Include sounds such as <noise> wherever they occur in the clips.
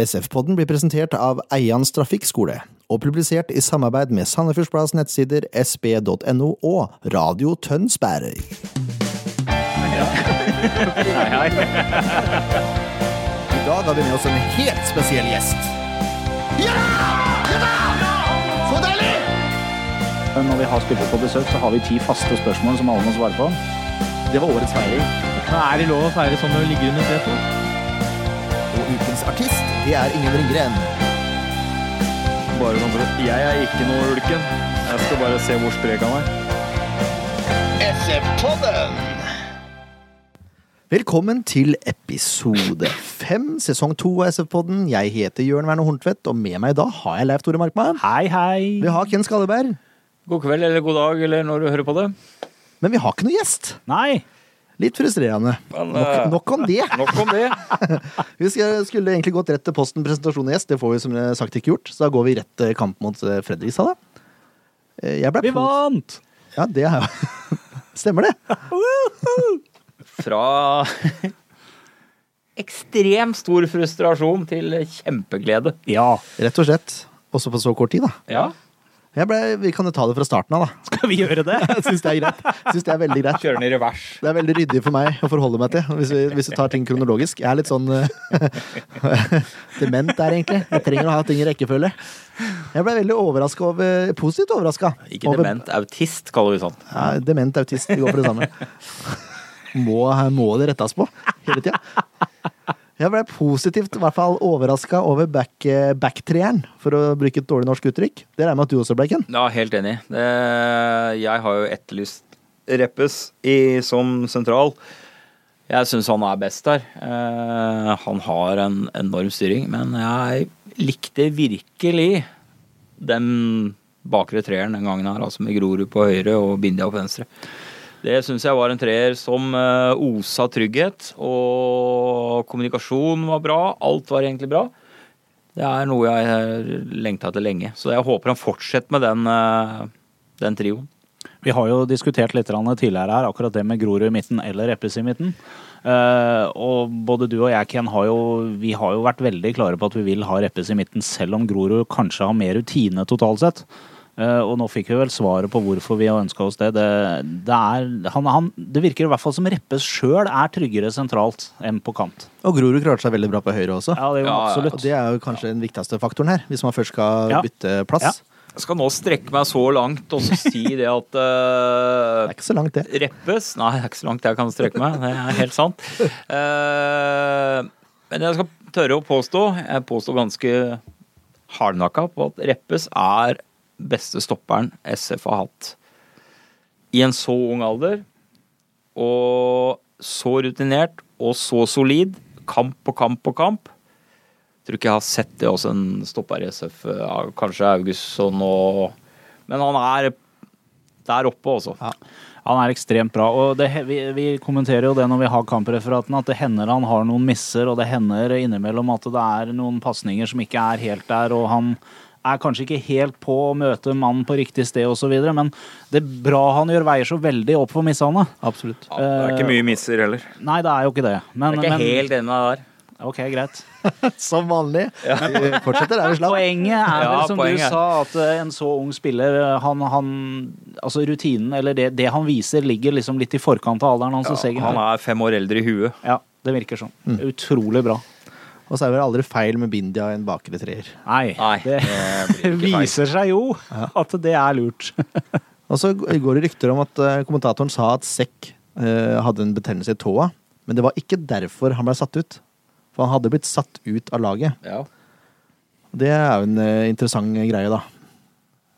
SF-podden blir presentert av Eians Trafikkskole og publisert i samarbeid med Sandefjordsplass nettsider sb.no og Radio Tønsberg. I dag har vi med oss en helt spesiell gjest. Men Eh, Når vi har spillere på besøk, så har vi ti faste spørsmål som alle må svare på. Det var årets feiring. Men er det lov å feire sånn når du ligger under setet? Og ukens artist, det er Ingen Ringgren. Bare sånn for at jeg er ikke noe ulken. Jeg skal bare se hvor sprek han er. Velkommen til episode fem, sesong to av SF-podden. Jeg heter Jørn Werner Horntvedt, og med meg i dag har jeg Leif Tore Markmann. Hei, hei. Vi har Ken Skalleberg, God kveld eller god dag eller når du hører på det. men vi har ikke noen gjest. Nei. Litt frustrerende. Men, Nok, eh, nok om det. Nok om det. Vi skal- skulle egentlig gått rett til posten presentasjon og gjest. Det får vi som sagt ikke gjort. Så da går vi rett til kamp mot eh, Fredrikstad, da. Eh, Jeg ble Vi pos- vant! Ja, det er jo <laughs> Stemmer det. Fra ekstrem stor frustrasjon til kjempeglede. Ja. Rett og slett. Også på så kort tid, da. Ja. Jeg ble, vi kan jo ta det fra starten av, da. <laughs> Skal vi gjøre det? Jeg syns det er greit. Jeg Synes det er veldig greit. Kjører den i revers. Det er veldig ryddig for meg å forholde meg til, hvis vi, hvis vi tar ting kronologisk. Jeg er litt sånn eh, <laughs> dement der, egentlig. Jeg trenger å ha ting i rekkefølge. Jeg ble veldig overraska over Positivt overraska. Ikke dement, autist kaller vi sånn. sånt. Ja, dement autist. Vi går for det samme. Må, må det rettes på hele tida. Jeg ble positivt i hvert fall overraska over back- eh, backtreeren, for å bruke et dårlig norsk uttrykk. Det regner jeg med at du også ble, Ken. Ja, helt enig. Det- Jeg har jo etterlyst Reppes i, som sentral. Jeg syns han er best der. Eh, Han har en enorm styring, men jeg likte virkelig den bakre treeren den gangen her, altså med Grorud på høyre og Bindia på venstre. Det syns jeg var en treer som eh, osa trygghet, og kommunikasjon var bra. Alt var egentlig bra. Det er noe jeg har lengta etter lenge. Så jeg håper han fortsetter med den, eh, den trioen. <laughs> Vi har jo diskutert litt grann tidligere her, akkurat det med Grorud i midten eller Eppes i midten. Eh, og både du og jeg, Ken, har jo, vi har jo vært veldig klare på at vi vil ha Reppes i midten, selv om Grorud kanskje har mer rutine totalt sett. Eh, og nå fikk vi vel svaret på hvorfor vi har ønska oss det. Det, det, er, han, han, det virker i hvert fall som Reppes sjøl er tryggere sentralt enn på kant. Og Grorud klarte seg veldig bra på høyre også. Ja, det er Ja, jo ja, ja. absolutt. Og det er jo kanskje den viktigste faktoren her, hvis man først skal Ja. bytte plass. Jeg skal nå strekke meg så langt og så si <laughs> det at eh, Det er ikke så langt, det. Reppes Nei, det er ikke så langt jeg kan strekke meg. Det er helt sant. Eh, men jeg skal tørre å påstå, jeg påstår ganske hardnakka, på at Reppes er beste stopperen SF har hatt i en så ung alder. Og så rutinert og så solid. Kamp på kamp på kamp. Tror ikke jeg har sett det hos en stopper i SF, eh, kanskje Augustsson og Men han er der oppe, altså. Han er ekstremt bra. og det, he- vi, vi kommenterer jo det når vi har kampreferatene, at det hender han har noen misser, og det hender innimellom at det er noen pasninger som ikke er helt der, og han er kanskje ikke helt på å møte mannen på riktig sted osv., men det bra han gjør, veier så veldig opp for missene. Absolutt. Ja, det er ikke mye misser heller. Nei, det er jo ikke det. Men, Jeg er ikke men, helt enig med deg der. Ok, greit. <laughs> Som vanlig. Vi fortsetter der vi slapp. Poenget er Ja, vel som poenget. du sa, at eh, en så ung spiller, eh, han, han Altså rutinen, eller det, det han viser, ligger liksom litt i forkant av alderen hans. hos Eggen. han er fem år eldre i huet. Ja, det virker sånn. Utrolig bra. Og så er det aldri feil med Bindia i en bakre treer. Nei, Nei, det, det <laughs> blir ikke feil. viser seg jo at det er lurt. <laughs> Og så går det rykter om at eh, kommentatoren sa at Sekk eh, hadde en betennelse i tåa, men det var ikke derfor han ble satt ut. For han hadde blitt satt ut av laget. Ja. Det er jo en eh, interessant greie, da.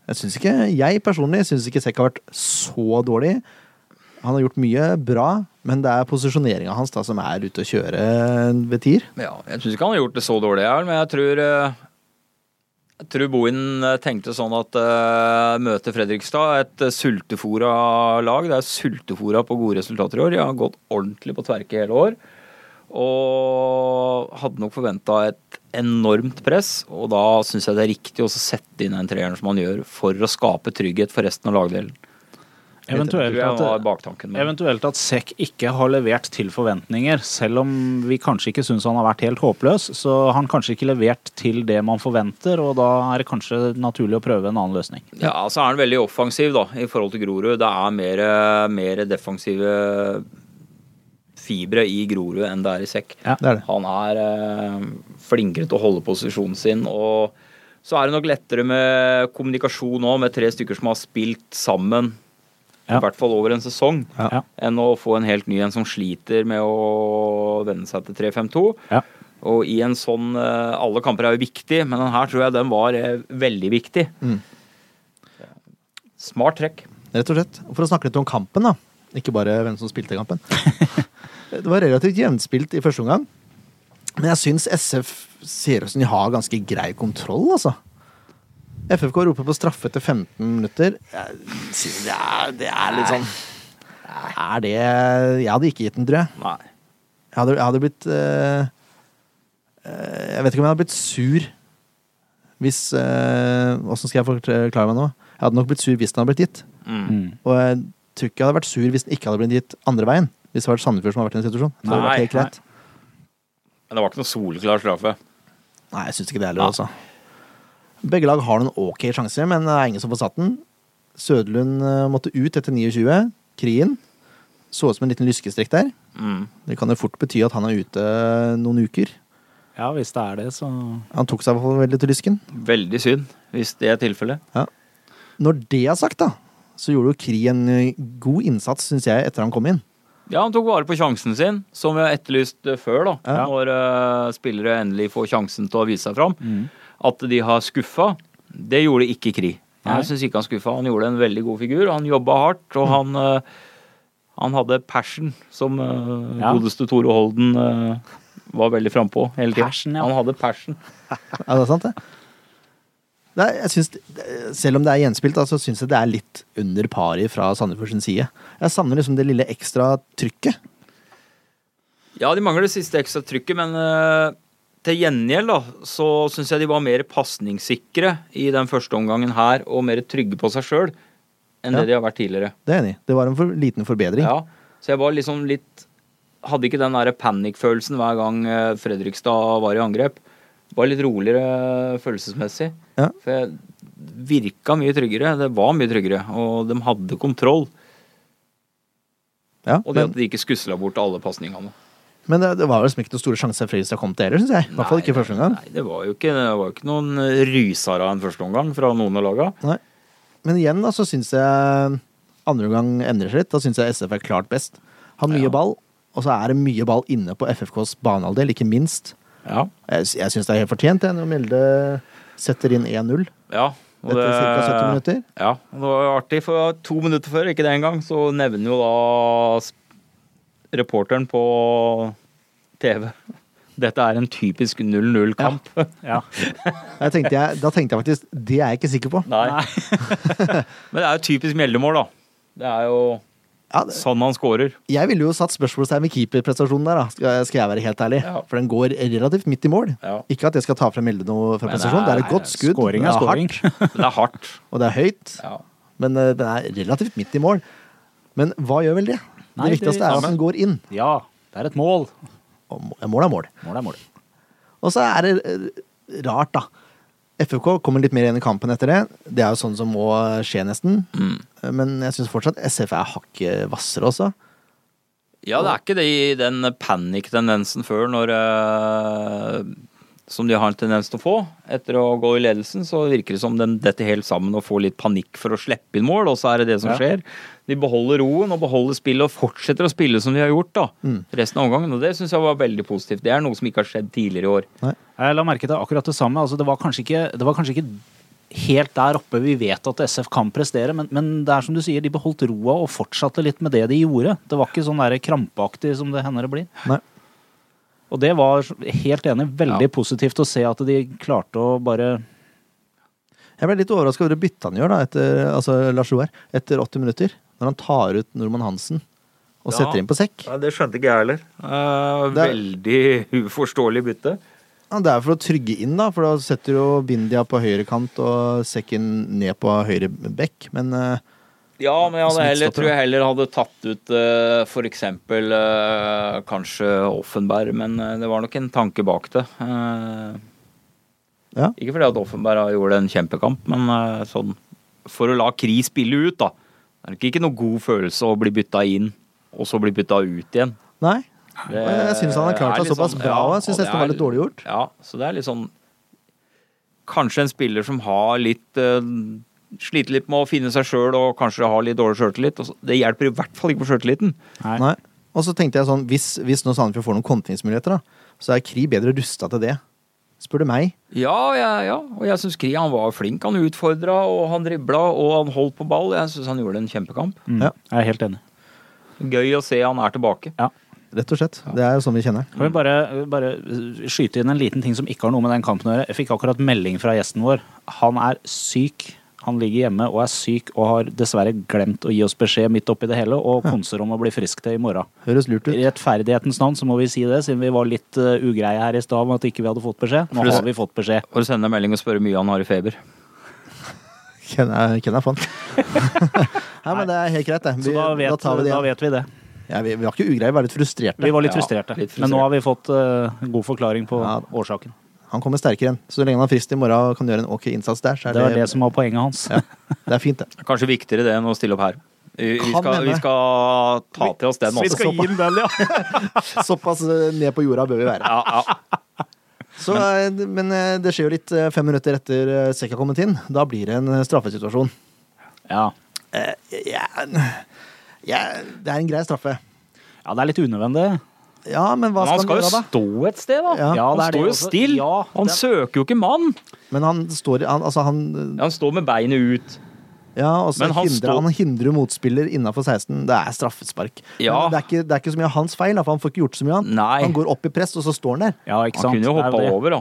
Jeg synes ikke, jeg personlig syns ikke Sekk har vært så dårlig. Han har gjort mye bra, men det er posisjoneringa hans da som er ute å kjøre ved tier. Ja, jeg syns ikke han har gjort det så dårlig, jeg, men jeg tror eh, Jeg tror Bohin eh, tenkte sånn at uh, møte Fredrikstad, et eh, sultefora lag. Det er sultefora på gode resultater i år. De har gått ordentlig på tverke hele år. Og hadde nok forventa et enormt press, og da syns jeg det er riktig å sette inn den treeren som han gjør, for å skape trygghet for resten av lagdelen. Tror Eventuelt jeg at, var baktanken min. Eventuelt at Sekk ikke har levert til forventninger. Selv om vi kanskje ikke syns han har vært helt håpløs, så har han kanskje ikke levert til det man forventer, og da er det kanskje naturlig å prøve en annen løsning. Ja, så er han veldig offensiv da, i forhold til Grorud. Det er mer, eh, mer defensive fibre i Grorud enn det er i sekk. Det er det. Han er eh, flinkere til å holde posisjonen sin. og så er det nok lettere med kommunikasjon òg, med tre stykker som har spilt sammen. Ja. I hvert fall over en sesong. Ja. Ja. Enn å få en helt ny en som sliter med å venne seg til 3-5-2. Ja. Og i en sånn eh, Alle kamper er jo viktig, men den her tror jeg den var eh, veldig viktig. Mm. Smart trekk. Rett og slett. Og For å snakke litt om kampen, da. Ikke bare hvem som spilte kampen. det var relativt jevnspilt i første omgang. Men jeg syns SF ser ut som de har ganske grei kontroll, altså. FFK roper på straffe etter 15 minutter. Jeg synes det, er, det er litt sånn Er det Jeg hadde ikke gitt den, tror jeg. Nei. Jeg hadde, jeg hadde blitt eh, eh, Jeg vet ikke om jeg hadde blitt sur hvis eh, Åssen skal jeg forklare meg nå? Jeg hadde nok blitt sur hvis den hadde blitt gitt. Mm. Mm. Og jeg tror ikke jeg hadde vært sur hvis den ikke hadde blitt gitt andre veien. Hvis det hadde vært Sandefjord som hadde vært i den situasjonen. Så hadde det Nei, vært helt greit. Nei. Men det var ikke noe soleklar straffe. jeg syns ikke det heller, altså. Begge lag har noen ok sjanser, men det er ingen som får satt den. Søderlund eh, måtte ut etter 29. Krien så ut som en liten lyskestrekk der. Mm. Det kan jo fort bety at han er ute eh, noen uker. ja, hvis det er det, så Han tok seg i hvert fall veldig til lysken. Veldig synd, hvis det er tilfellet. Når det er sagt, da, så gjorde jo Kri en eh, god innsats, syns jeg, etter han kom inn. Ja, han tok vare på sjansen sin, som vi har etterlyst eh, før, da. Ja. Når eh, spillere endelig får sjansen til å vise seg fram. Mm. At de har skuffa, det gjorde ikke Kri. Nei. Mm. Jeg syns ikke han skuffa. Han gjorde en veldig god figur. Han jobba hardt, og han, eh, han hadde passion, som eh, Ja. godeste Tore Holden eh, var veldig frampå hele tida. Passion, ja. Han hadde passion. Ja, det er sant, det. det er, jeg synes, selv om det er gjenspilt, da, så syns jeg det er litt under pari fra Sandefjord sin side. Jeg savner liksom det lille ekstra trykket. Ja, de mangler det siste ekstra trykket, men eh, til gjengjeld da, så syns jeg de var mer pasningssikre i den første omgangen her, og mer trygge på seg sjøl enn Ja. det de har vært tidligere. Det er jeg enig i. Det var en for, liten forbedring. Ja, så jeg var liksom litt Hadde ikke den der panikkfølelsen hver gang eh, Fredrikstad var i angrep. Var litt roligere eh, følelsesmessig. Ja. For jeg virka mye tryggere. Det var mye tryggere, og de hadde kontroll. Ja, Og det men at de ikke skusla bort alle pasningene. men det, det var liksom ikke noen store sjanser Fredrikstad kom til heller, syns jeg. I hvert fall ikke i første omgang. Nei, det var jo ikke, det var jo ikke noen eh, rysere av en førsteomgang fra noen av laga. Men igjen da, så syns jeg andre omgang endrer seg litt. Da syns jeg SF er klart best. Har mye Ja. ball, og så er det mye ball inne på FFKs banehalvdel, ikke minst. Ja. Jeg, jeg syns det er helt fortjent, jeg, når Mjelde setter inn 1-0 ja og etter det- ca. 70 minutter. Ja, og det var jo artig, for to minutter før, ikke det engang, så nevner jo da s- reporteren på TV <laughs> dette er en typisk 0-0-kamp. Ja. Da tenkte jeg, da tenkte jeg faktisk Det er jeg ikke sikker på. <laughs> Nei. <laughs> Men det er jo typisk Mjeldemål, da. Det er jo Ja, det- sånn han scorer. jeg ville jo satt spørsmålstegn ved keeperprestasjonen der, da, skal, skal jeg være helt ærlig. Ja. For den går relativt midt i mål. Ja. Ikke at jeg skal ta frem Mjelde noe fra Men prestasjon, det er et nei, godt skudd. Scoring det er er scoring. <laughs> hardt, Men det er hardt. og det er høyt, Ja. men eh, den er relativt midt i mål. Men hva gjør vel det? Nei, det viktigste det- er at den går inn. Ja, det er et mål. Og må- mål er mål. Mål er mål. Og så er det eh, rart, da. FFK kommer litt mer igjen i kampen etter det. Det er jo sånn som må skje, nesten. Mm. Men jeg syns fortsatt SF er hakket hvassere også. Ja, det er ikke det i den panic-tendensen før når eh, Som de har en tendens til å få. Etter å gå i ledelsen så virker det som den detter helt sammen og får litt panikk for å slippe inn mål, og så er det det som Ja. skjer. De beholder roen og beholder spillet og fortsetter å spille som de har gjort da, Mm. resten av omgangen. Og det syns jeg var veldig positivt. Det er noe som ikke har skjedd tidligere i år. Jeg la merke til akkurat det samme. Altså, det, var kanskje ikke, det var kanskje ikke helt der oppe vi vet at SF kan prestere, men, men det er som du sier, de beholdt roa og fortsatte litt med det de gjorde. Det var ikke sånn der krampaktig som det hender det blir. Nei. Og det var helt enig veldig Ja. positivt å se at de klarte å bare Jeg ble litt overraska over det byttet han gjør, da, etter, altså Lars Joar, etter 80 minutter. Når han tar ut Norman Hansen og Ja. setter inn på sekk. det skjønte ikke jeg heller. Eh, veldig uforståelig bytte. Ja, det er for å trygge inn, da, for da setter jo Bindia på høyrekant og sekken ned på høyre bekk. Men eh, Ja, men jeg hadde heller, Smittsomt, tror jeg heller hadde tatt ut eh, for eksempel eh, kanskje Offenberg, men eh, det var nok en tanke bak det. Eh, Ja. Ikke fordi at Offenberg har gjort en kjempekamp, men eh, sånn for å la Kri spille ut, da. Det er nok ikke noe god følelse å bli bytta inn, og så bli bytta ut igjen. Nei. Det Og jeg syns han har klart er seg litt såpass sånn- bra ja, òg. Jeg syns og det nesten det var er- litt dårlig gjort. Ja, så det er litt sånn Kanskje en spiller som har litt eh, Sliter litt med å finne seg sjøl og kanskje har litt dårlig sjøltillit. og så- Det hjelper i hvert fall ikke på sjøltilliten. Nei. Nei. Og så tenkte jeg sånn, hvis, hvis nå Sandefjord får noen kontringsmuligheter, da, så er Kri bedre rusta til det. Spør du meg. Ja, ja, ja, og jeg syns Kri han var flink. Han utfordra, og han dribla, og han holdt på ball. Jeg syns han gjorde en kjempekamp. Mm. Ja. Jeg er helt enig. Gøy å se han er tilbake. Rett og slett. Det er jo sånn vi kjenner. Kan vi bare, bare eh, skyte inn en liten ting som ikke har noe med den kampen å gjøre? Jeg fikk akkurat melding fra gjesten vår. Han er syk. Han ligger hjemme og er syk og har dessverre glemt å gi oss beskjed midt oppi det hele og konser om å bli frisk til i morgen. Høres lurt I ut. rettferdighetens navn så må vi si det, siden vi var litt eh, ugreie her i stad om at ikke vi hadde fått beskjed. Nå For det- har vi fått beskjed. Og sende en melding og spørre hvor mye han har i feber. Kjenner jeg <laughs> faen. Nei, men det er helt greit, det. Så da vet, tar vi det. da igjen. vet vi det. Ja, vi, vi var ikke ugreie, vi var litt frustrerte. Vi var litt Ja, frustrerte. litt frustrerte. Men nå har vi fått eh, god forklaring på Ja. årsaken. Han kommer sterkere igjen. Så lenge han har frist i morgen og kan gjøre en ok innsats der, så er Det det, var det som var poenget hans. Ja. det er fint, <laughs> det. Kanskje viktigere det enn å stille opp her. Vi, vi, Kan skal, vi hende. skal ta til oss den også. gi den den, ja. Såpass eh, ned på jorda bør vi være. Ja, ja. Så, eh, men eh, det skjer jo litt eh, fem minutter etter eh, Sekk har kommet inn. Da blir det en eh, straffesituasjon. ja. Eh, ja, ja, det er en grei straffe. Ja, det er litt unødvendig. Ja, men hva Men han skal skal han jo gjøre da? stå et sted, da. Ja. Ja, han det er står det jo også. stille. Ja, han det- søker jo ikke mann. Men han står han, Altså, han Han står med beinet ut. Ja, og så Men han hindrer står- han hindrer motspiller innafor 16. Det er straffespark. Ja. Men Det, er ikke, det er ikke så mye hans feil, da, for han får ikke gjort så mye. Han Nei. Han går opp i press, og så står han der. Ja, ikke Han sant? kunne jo Det er hoppa det. over, da.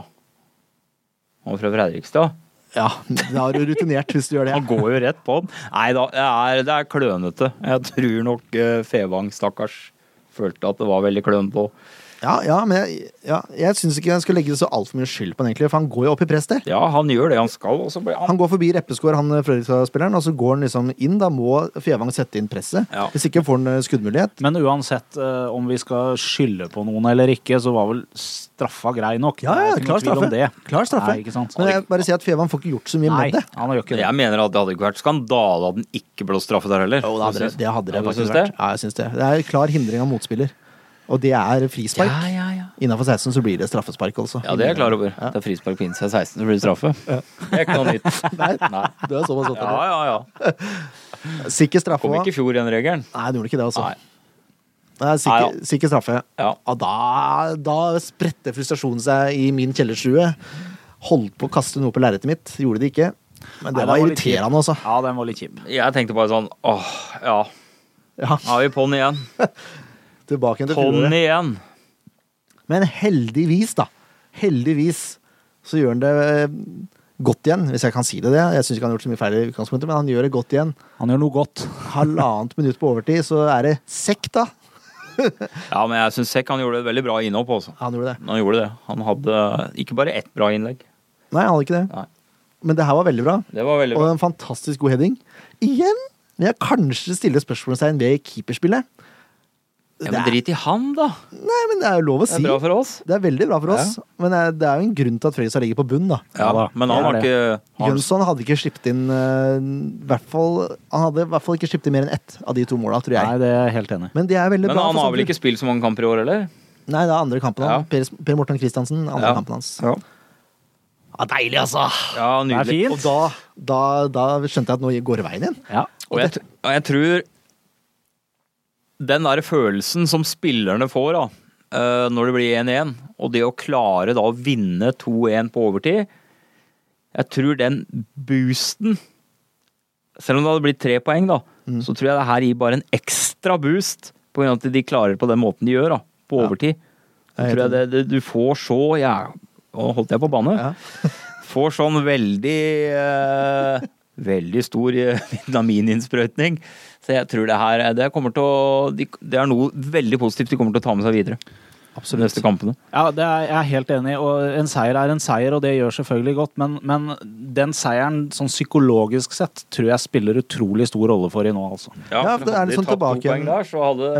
Han var fra Fredrikstad. Ja, <laughs> Da er du rutinert hvis du gjør det. Han går jo rett på den. Nei da, det er, det er klønete. Jeg tror nok eh, Fevang, stakkars, følte at det var veldig klønete òg. Ja, ja men jeg, ja, jeg syns ikke jeg skal legge så altfor mye skyld på han, egentlig, for han går jo opp i press der. Ja, han gjør det han skal, og så blir han Han går forbi Reppeskår, han eh, Fredrikstad-spilleren, og så går han liksom inn. Da må Fevang sette inn presset. Ja. Hvis ikke får han eh, skuddmulighet. Men uansett eh, om vi skal skylde på noen eller ikke, så var vel straffa grei nok. Ja, ja, Det er ikke klar noe tvil om straffe. det. Klar straffe. Nei, ikke sant? Men jeg bare sier at Fevang får ikke gjort så mye Nei, med det. han gjør ikke det. Jeg mener at det hadde ikke vært skandale at den ikke ble straffe der heller. Jo, det hadde det, det, hadde det Ja, du faktisk syns vært. det? Ja, jeg syns det. Det er klar hindring av motspiller. Og det er frispark. Ja, ja, ja. Innafor 16 så blir det straffespark, altså. Ja, det er jeg klar over. Det er frispark på innsida 16, så blir det straffe. Det er ikke noe <laughs> nytt. <laughs> Nei, Nei. det er såpass Ja, opptatt. ja, ja. Sikker straffe Kom òg. ikke i fjor, den regelen. Nei, det gjorde ikke det, altså. Nei. Det er Nei, sikker, sikker straffe. Ja. Ja, da, da spredte frustrasjonen seg i min kjellerstue. Holdt på å kaste noe på lerretet mitt. Gjorde det ikke. Men Nei, det den var litt kjip. irriterende, altså. Ja, den var litt kjip. Jeg tenkte bare sånn åh, ja. Ja, Nå er vi på'n igjen. tilbake til På'n fjoråret. igjen. Men heldigvis, da. Heldigvis så gjør han det eh, godt igjen, hvis jeg kan si det. det. Jeg syns ikke han har gjort så mye feil i utgangspunktet, men han gjør det godt igjen. Han gjør noe godt. Halvannet <laughs> minutt på overtid, så er det sekk, da. Ja, men jeg syns Sekk han gjorde et veldig bra innhopp også. Han gjorde det. Han gjorde det. Han hadde ikke bare ett bra innlegg. Nei, han hadde ikke det. Nei. Men det her var veldig bra. Det var veldig Og bra. en fantastisk god heading. Igjen vil jeg kanskje stille spørsmålstegn ved keeperspillet. Ja, det men er- drit i han, da. Nei, men det er jo lov å Det si. er bra for oss. Det er veldig bra for oss, men det er- det er jo en grunn til at Fredrikstad ligger på bunn, da. Ja, Ja da, men han det er har det. ikke han, Jønsson hadde ikke sluppet inn eh, hvert fall, Han hadde i hvert fall ikke sluppet inn mer enn ett av de to måla, tror jeg. Nei, det er jeg helt enig i. Men det er veldig Men bra. han for har vel Sandefjord. ikke spilt så mange kamper i år, eller? Nei, det er andre kampen Ja. hans. Per, per Morten Christiansen, andre Ja. kampen hans. Ja, Ja, deilig, altså! Det er nydelig. Og fint. da, da, da skjønte jeg at nå går det veien igjen. Ja. Og jeg, tr- og jeg tror den der følelsen som spillerne får da, eh, når det blir 1-1, og det å klare da å vinne 2-1 på overtid Jeg tror den boosten Selv om det hadde blitt tre poeng, da, Mm. så tror jeg det her gir bare en ekstra boost på grunn av at de klarer på den måten de gjør, da, på overtid. Så Jeg er tror jeg det, helt det, du får så ja, Nå holdt jeg på å banne. Ja. <laughs> Får sånn veldig eh, Veldig stor eh, <laughs> vitamininnsprøytning. Så jeg tror det her eh, det kommer til å de- Det er noe veldig positivt de kommer til å ta med seg videre. de neste kampene. Ja, det er, jeg er helt enig. og En seier er en seier, og det gjør selvfølgelig godt. Men, men den seieren, sånn psykologisk sett, tror jeg spiller utrolig stor rolle for i nå, altså. Ja, for det er hadde litt de sånn tatt to tilbake poeng igjen. der, så hadde,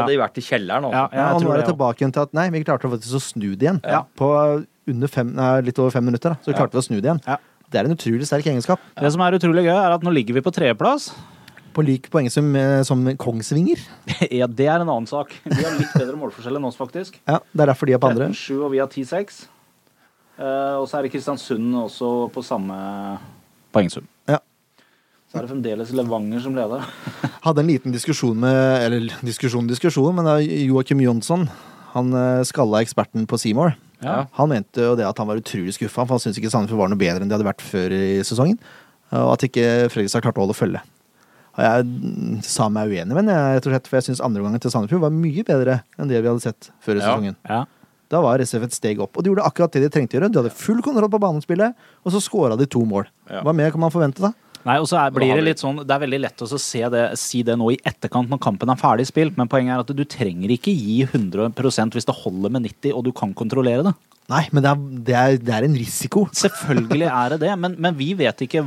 hadde de vært i kjelleren. Altså. Ja, Ja, jeg og nå tror er det, det tilbake igjen til at nei, vi klarte faktisk å snu det igjen. Ja. På under fem, nei, litt over fem minutter. Da. Så vi klarte vi å snu det igjen. Ja. Det er en utrolig sterk egenskap. ja. det som er utrolig gøy, er at nå ligger vi på tredjeplass. På lik poeng som, eh, som Kongsvinger. <laughs> ja, det er en annen sak. Vi har litt bedre målforskjell enn oss, faktisk. Ja, det er derfor de er på andre. 13-7, og vi har 10-6. Eh, og så er det Kristiansund også på samme poengsum. Ja. Så er det fremdeles Levanger som leder. Hadde en liten diskusjon med Eller diskusjon, diskusjon, men det er Joakim Jonsson. Han eh, skalla eksperten på Seymour. Ja. Han mente jo det at han var utrolig skuffa, for han syntes ikke Sandefjord var noe bedre enn de hadde vært før i sesongen. Og at ikke Fredrikstad klarte å holde følge. Og jeg mm, sa meg uenig, men jeg, rett og slett, for jeg syns andreomgangen til Sandefjord var mye bedre enn det vi hadde sett før i Ja. sesongen. Ja. Da var SF et steg opp, og de gjorde akkurat det de trengte å gjøre. De hadde full kontroll på banespillet, og så skåra de to mål. Ja. Hva mer kan man forvente, da? Nei, og så er, Da blir har det vi- litt sånn Det er veldig lett å så se det, si det nå i etterkant når kampen er ferdig spilt, men poenget er at du trenger ikke gi 100 hvis det holder med 90 og du kan kontrollere det. Nei, men det er, det er, det er en risiko. Selvfølgelig er det det, men, men vi vet ikke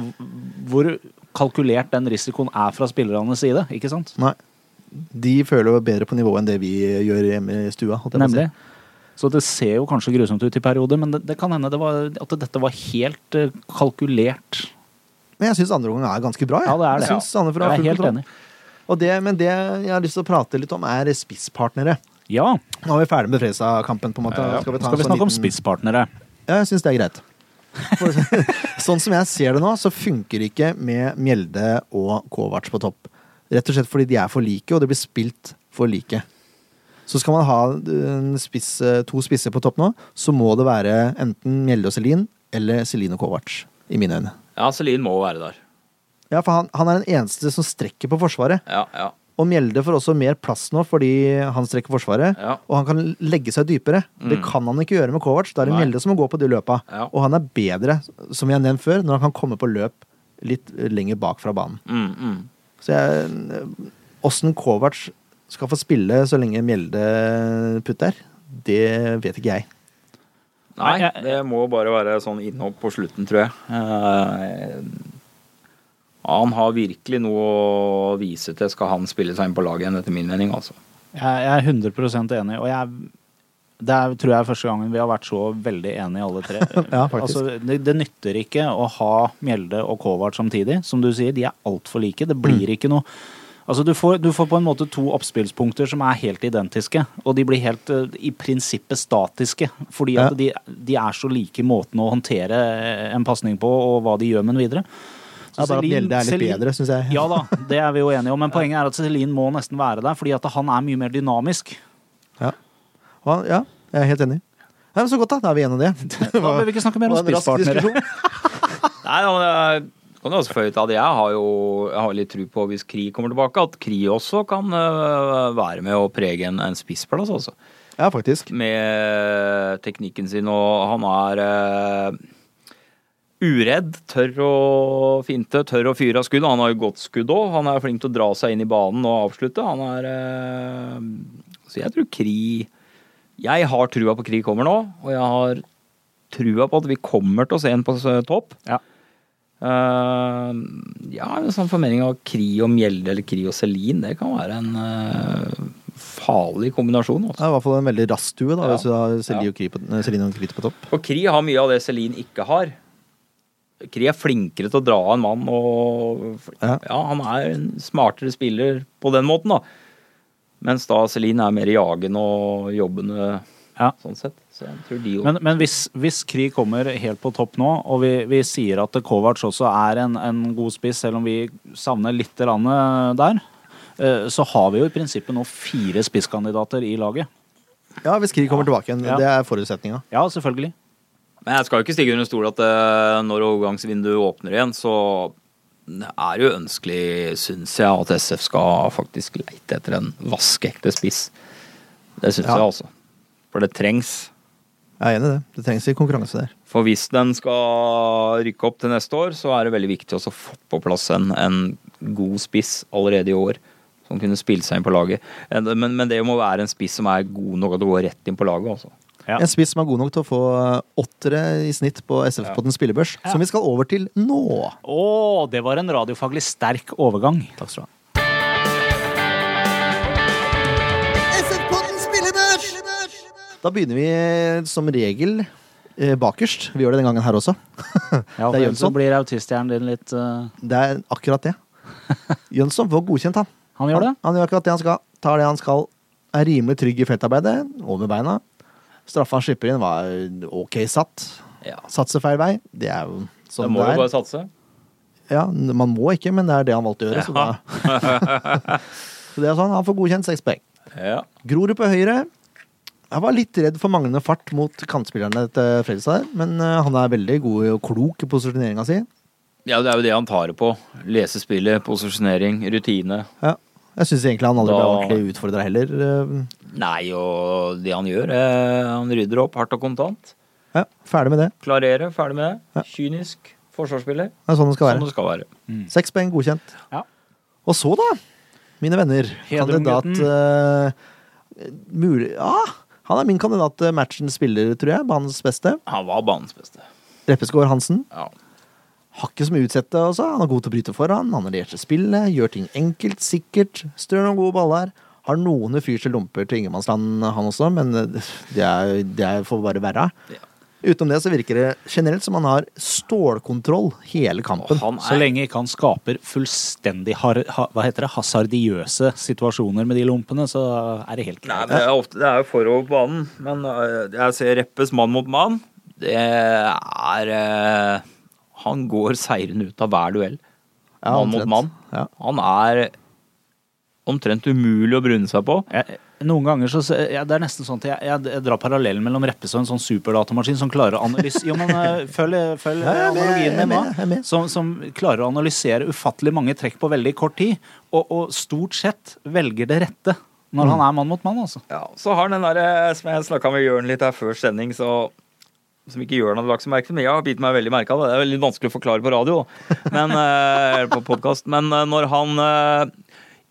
hvor kalkulert den risikoen er fra spillernes side, ikke sant? Nei. De føler jo bedre på nivå enn det vi gjør hjemme i stua. holdt jeg på å si. Nemlig. Så det ser jo kanskje grusomt ut i perioder, men det, det kan hende det var, at dette var helt eh, kalkulert. Men jeg syns andre omgang er ganske bra. Jeg, Ja, det er det. Jeg synes Sandefjord har Jeg er full helt kontroll. enig. Og det, men det jeg har lyst til å prate litt om, er spisspartnere. Ja. Nå er vi ferdig med Fredrikstad-kampen, på en måte. vi, ta en Skal vi sånn snakke om liten- spisspartnere? Ja, jeg syns det er greit. For, <laughs> sånn som jeg ser det nå, så funker det ikke med Mjelde og Kovac på topp. Rett og slett fordi de er for like, og det blir spilt for like. Så skal man ha eh, en spiss, to spisser på topp nå, så må det være enten Mjelde og Celine eller Celine og Kovac, i mine øyne. Ja, Celine må være der. Ja, for han, han er den eneste som strekker på Forsvaret. Ja, ja. Og Mjelde får også mer plass nå fordi han strekker Forsvaret. Ja. Og han kan legge seg dypere. Mm. Det kan han ikke gjøre med Kovac. Da er det Nei. Mjelde som må gå på de løpa. Ja. Og han er bedre, som vi har nevnt før, når han kan komme på løp litt lenger bak fra banen. Mm, mm. Så jeg eh, Åssen Kovac skal få spille så lenge Mjelde putter, det vet ikke jeg. Nei, Nei, jeg- det må bare være sånn innhopp på slutten, tror jeg. Eh, han har virkelig noe å vise til, skal han spille seg inn på laget igjen, etter min mening, altså. Jeg, jeg er 100 enig, og jeg det er, tror jeg er første gangen vi har vært så veldig enige alle tre. <laughs> Ja, faktisk. altså, det, det nytter ikke å ha Mjelde og Kovac samtidig. Som du sier, de er altfor like. Det Mm. blir ikke noe Altså, du får, du får på en måte to oppspillspunkter som er helt identiske. Og de blir helt eh, i prinsippet statiske, fordi at de, de er så like i måten å håndtere en pasning på, og hva de gjør med den videre. Så Ja, bare at Celine- Mjelde er litt Celine- bedre, synes jeg. <laughs> Ja da, det er vi jo enige om. Men poenget er at Celine må nesten være der, fordi at han er mye mer dynamisk. Ja, og han, ja jeg er helt enig. Ja, men så godt, da. Da er vi gjennom det. Da bør vi ikke snakke mer <laughs> om Det var en rask spisspartnere. diskusjon. Nei, ja, men jeg kan jo også føye til at jeg har jo jeg har litt tro på, hvis Kri kommer tilbake, at Kri også kan eh, være med å prege en, en spissplass, altså. Ja, faktisk. Med teknikken sin, og han er eh, uredd. Tør å finte, tør å fyre av skudd. Han har jo godt skudd òg. Han er flink til å dra seg inn i banen og avslutte. Han er eh, Så jeg tror Kri Jeg har trua på Kri kommer nå, og jeg har trua på at vi kommer til å se en på s- topp. Ja. Eh, ja, en sånn formering av Kri og Mjelde eller Kri og Celine, det kan være en eh, farlig kombinasjon. Det altså. Også. er i hvert fall en veldig rass stue, da, Ja. hvis du har Celine og Kri på- eh, Celine og Kri på topp. Og Kri har mye av det Celine ikke har. Kri er flinkere til å dra en mann og Ja. ja. han er en smartere spiller på den måten, da. Mens da Celine er mer jagende og jobbende Ja. sånn sett. Så jeg tror de jo Men, men hvis, hvis Kri kommer helt på topp nå, og vi, vi sier at Kovac også er en, en god spiss, selv om vi savner litt grann der, eh, så har vi jo i prinsippet nå fire spisskandidater i laget. Ja, hvis Kri kommer tilbake igjen. Ja. Det er forutsetninga. Ja, selvfølgelig. Men jeg skal jo ikke stige under stol at eh, når overgangsvinduet åpner igjen, så er det jo ønskelig, syns jeg, at SF skal faktisk leite etter en vaskeekte spiss. Det syns Ja. jeg, altså. For det trengs. Jeg er enig i det. Det trengs litt konkurranse der. For hvis den skal rykke opp til neste år, så er det veldig viktig også å få på plass en, en god spiss allerede i år. som kunne spilt seg inn på laget. Eh, Men, men det må være en spiss som er god nok til å gå rett inn på laget, altså. Ja. En spiss som er god nok til å få eh, åttere i snitt på SF-podden spillebørs, som vi skal over til nå. Å, det var en radiofaglig sterk overgang. Takk skal du ha. Da begynner vi som regel eh, bakerst. Vi gjør det den gangen her også. <laughs> Det er Ja, for Jønsson. så blir autisthjernen din litt eh, Det er akkurat det. Jønsson får godkjent, han. Han gjør det? Han, han gjør akkurat det han skal. Tar det han skal. Er rimelig trygg i feltarbeidet. Over beina. Straffa han slipper inn, var ok satt. Ja. Satser feil vei. Det er jo Da sånn må det du er. bare satse. Ja, man må ikke, men det er det han valgte å gjøre. Så, da. <laughs> så det er sånn. Han får godkjent seks poeng. Ja. Grorud på høyre. Jeg var litt redd for manglende fart mot kantspillerne til Fredrikstad, der, men eh, han er veldig god og klok i posisjoneringa si. ja, det er jo det han tar det på. Lese spillet, posisjonering, rutine. Ja. Jeg syns egentlig han aldri ble Da- ordentlig utfordra heller. eh, Nei, og det han gjør eh, Han rydder opp hardt og kontant. Ja, ferdig med det. Klarere, ferdig med det. Ja. Kynisk forsvarsspiller. Det er sånn det skal Sånn være. det skal være. Seks poeng godkjent. Ja. Og så, da, mine venner, Hedrum, kandidat gutten. eh, Mulig Ja, han er min kandidat til matchen spiller, tror jeg. Banens beste. Han var banens beste. Reppeskår Hansen. Ja. Har ikke så mye å utsette. Også. Han er god til å bryte foran, han har til spillet, gjør ting enkelt, sikkert. Strør noen gode baller. Har noen ufyrste lomper til ingenmannsland, han også, men eh, det, er, det er- får bare være. Ja. Utenom det så virker det generelt som han har stålkontroll hele kampen. Og han Så er lenge ikke han skaper fullstendig har, ha, hva heter det, hasardiøse situasjoner med de lompene, så er det helt Nei, greit. men det er, ofte, det er jo forover på banen, men øh, jeg ser Reppes mann mot mann. Det er øh, Han går seirende ut av hver duell. Ja, mann mot omtrent. mann. Ja. Han er omtrent umulig å brune seg på. Jeg, noen ganger så ja, Det er nesten sånn at jeg, jeg, jeg drar parallellen mellom Reppes og en sånn superdatamaskin som klarer å analysere Jo, men <laughs> eh, følg, følg Ja, jeg er med, jeg analogien er min med, jeg er nå. med. Som, som klarer å analysere ufattelig mange trekk på veldig kort tid, og, og stort sett velger det rette når Mm. han er mann mot mann, altså. Ja, så har den derre som jeg snakka med Jørn litt her før sending, så som ikke Jørn hadde lagt så merke til, men jeg har bitt meg veldig merke av det. Det er veldig vanskelig å forklare på radio, men, eh, eller på podkast. Men eh, når han eh,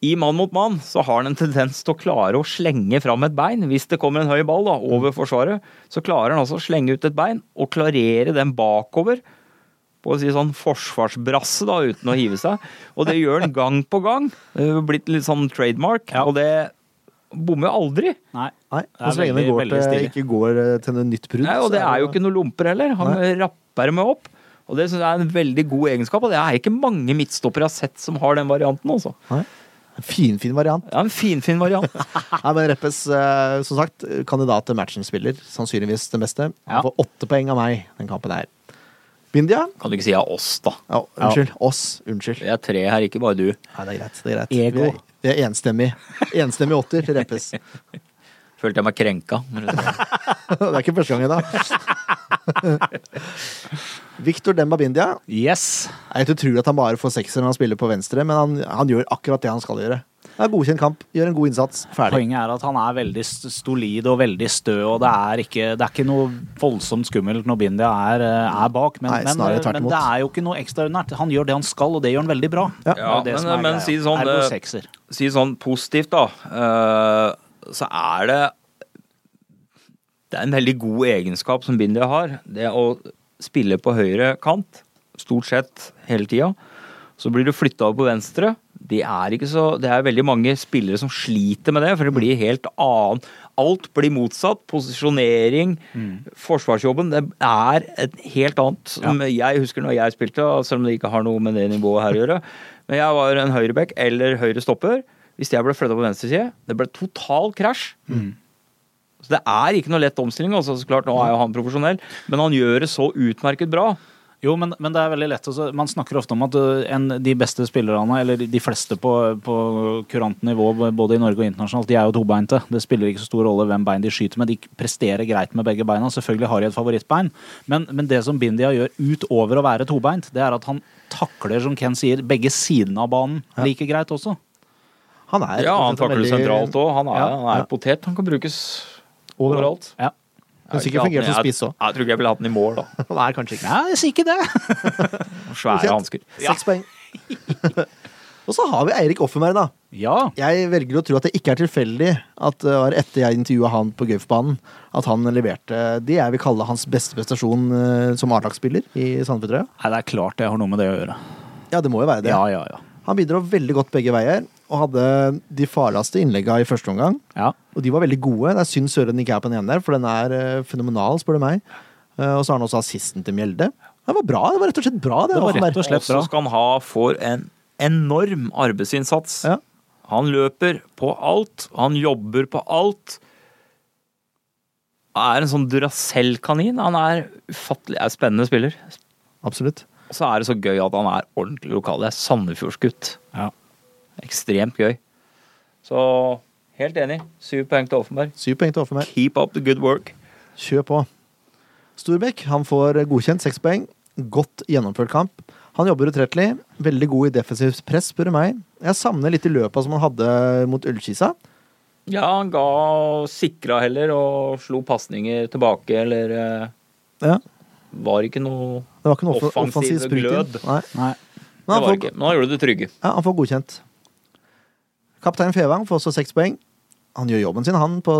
i Mann mot mann så har han en tendens til å klare å slenge fram et bein. Hvis det kommer en høy ball da, over forsvaret, så klarer han altså å slenge ut et bein og klarere den bakover. På å si sånn forsvarsbrasse, da, uten å hive seg. Og det gjør han gang på gang. Det er blitt litt sånn trademark. Og det bommer jo aldri. Nei. Nei, Det er og så lenge det veldig- går veldig til, stilig. ikke går eh, til noe nytt brudd. Nei, og så det er jo ikke noe lomper heller. Han rapper med opp. Og det synes jeg er en veldig god egenskap, og det er ikke mange midtstoppere jeg har sett som har den varianten. Også. Nei. Finfin fin variant. <laughs> Det er en finfin variant. Nei, men Reppes, eh, som sagt, kandidat til matchen-spiller. Sannsynligvis den beste. Han Ja. får åtte poeng av meg den kampen her. Bindia? <laughs> Kan du ikke si ja, oss, da? Ja, unnskyld. Oss. Unnskyld. Vi er tre her, ikke bare du. Nei, det er greit. det er greit. Ego. Vi er, vi er enstemmig. Enstemmig åtter til Reppes. <laughs> Følte jeg meg krenka. Det er ikke første gangen, da. Victor Demba Bindia. Yes. Det er helt utrolig at han bare får sekser når han spiller på venstre, men han, han gjør akkurat det han skal gjøre. Det er Godkjent kamp, gjør en god innsats, ferdig. Poenget er at han er veldig st- stolid og veldig stø, og det er ikke, det er ikke noe voldsomt skummelt når Bindia er, eh, er bak, men, Nei, men, snarere tvert men imot. det er jo ikke noe ekstraordinært. Han gjør det han skal, og det gjør han veldig bra. Ja. Det er jo det Ja, som men- er men greia. si sånn, Ergo det- sekser. Si sånn positivt, da. eh, Så er det Det er en veldig god egenskap som Bindia har. Det å spille på høyre kant, stort sett hele tida. Så blir du flytta over på venstre. Det er, ikke så, det er veldig mange spillere som sliter med det, for det blir helt annen Alt blir motsatt. Posisjonering, forsvarsjobben. Det er et helt annet som jeg husker når jeg spilte, og selv om det ikke har noe med det nivået her å gjøre. Men jeg var en høyreback eller høyre stopper. Hvis jeg ble flytta på venstre side, det ble total krasj. Så det er ikke noe lett omstilling. Også, så klart, nå er jo han profesjonell, men han gjør det så utmerket bra. Jo, men, men det er veldig lett. å så- man snakker ofte om at ø, en, de beste spillerne, eller de fleste på, på kurant nivå, b- både i Norge og internasjonalt, de er jo tobeinte. Det spiller ikke så stor rolle hvem bein de skyter med. De presterer greit med begge beina. Selvfølgelig har de et favorittbein, men, men det som Bindia gjør utover å være tobeint, det er at han takler, som Ken sier, begge sidene av banen like greit også. Han er Ja, han takler veldig- sentralt òg. Han er, Ja. han er potet. Han kan brukes overalt. Ja. Kan sikkert fungere som spiss òg. òg. <laughs> Jeg, jeg tror ikke jeg ville hatt den i mål, da. Han er kanskje ikke Nei, jeg sier ikke det. Svære hansker. Seks poeng. Og så har vi Eirik Offenberg, da. <laughs> Ja. Jeg velger å tro at det ikke er tilfeldig at det var etter jeg intervjua han på Gaufbanen, at han leverte det jeg vil kalle hans beste prestasjon eh, som A-lagsspiller i Sandefjordtrøya. Nei, det er klart det har noe med det å gjøre. Ja, det må jo være det. Ja, ja, ja. Han bidro veldig godt begge veier, og hadde de farligste innlegga i første omgang. ja. Og de var veldig gode. Det er synd Søren ikke er på den ene der, for den er eh, fenomenal, spør du meg. Eh, og så har han også assisten til Mjelde. Det var bra. Det var rett og slett bra. Det var Offenberg. rett og slett bra. så skal han ha for en enorm arbeidsinnsats. Ja. Han løper på alt, han jobber på alt. Han er en sånn Duracell-kanin. Han er ufattelig er en spennende spiller. Absolutt. Og så er det så gøy at han er ordentlig lokal. Det er Sandefjordsgutt. Ja. Ekstremt gøy. Så helt enig. Syv poeng til Offenberg. Syv poeng til Offenberg. Keep up the good work. Kjør på. Storbekk han får eh, godkjent seks poeng. Godt gjennomført kamp. Han jobber utrettelig. Veldig god i defensivt press, spør du meg. Jeg savner litt i løpet som han hadde mot Ullkisa. Ja, han ga og sikra heller og slo pasninger tilbake, eller eh, Ja. var ikke noe Det var ikke noe offensiv, Offensiv offensiv sprut inn. glød. Nei. Nei. Men Det han var får, ikke. Men han gjorde det trygge. ja, han får godkjent. Kaptein Fevang får også seks poeng. Han gjør jobben sin, han, på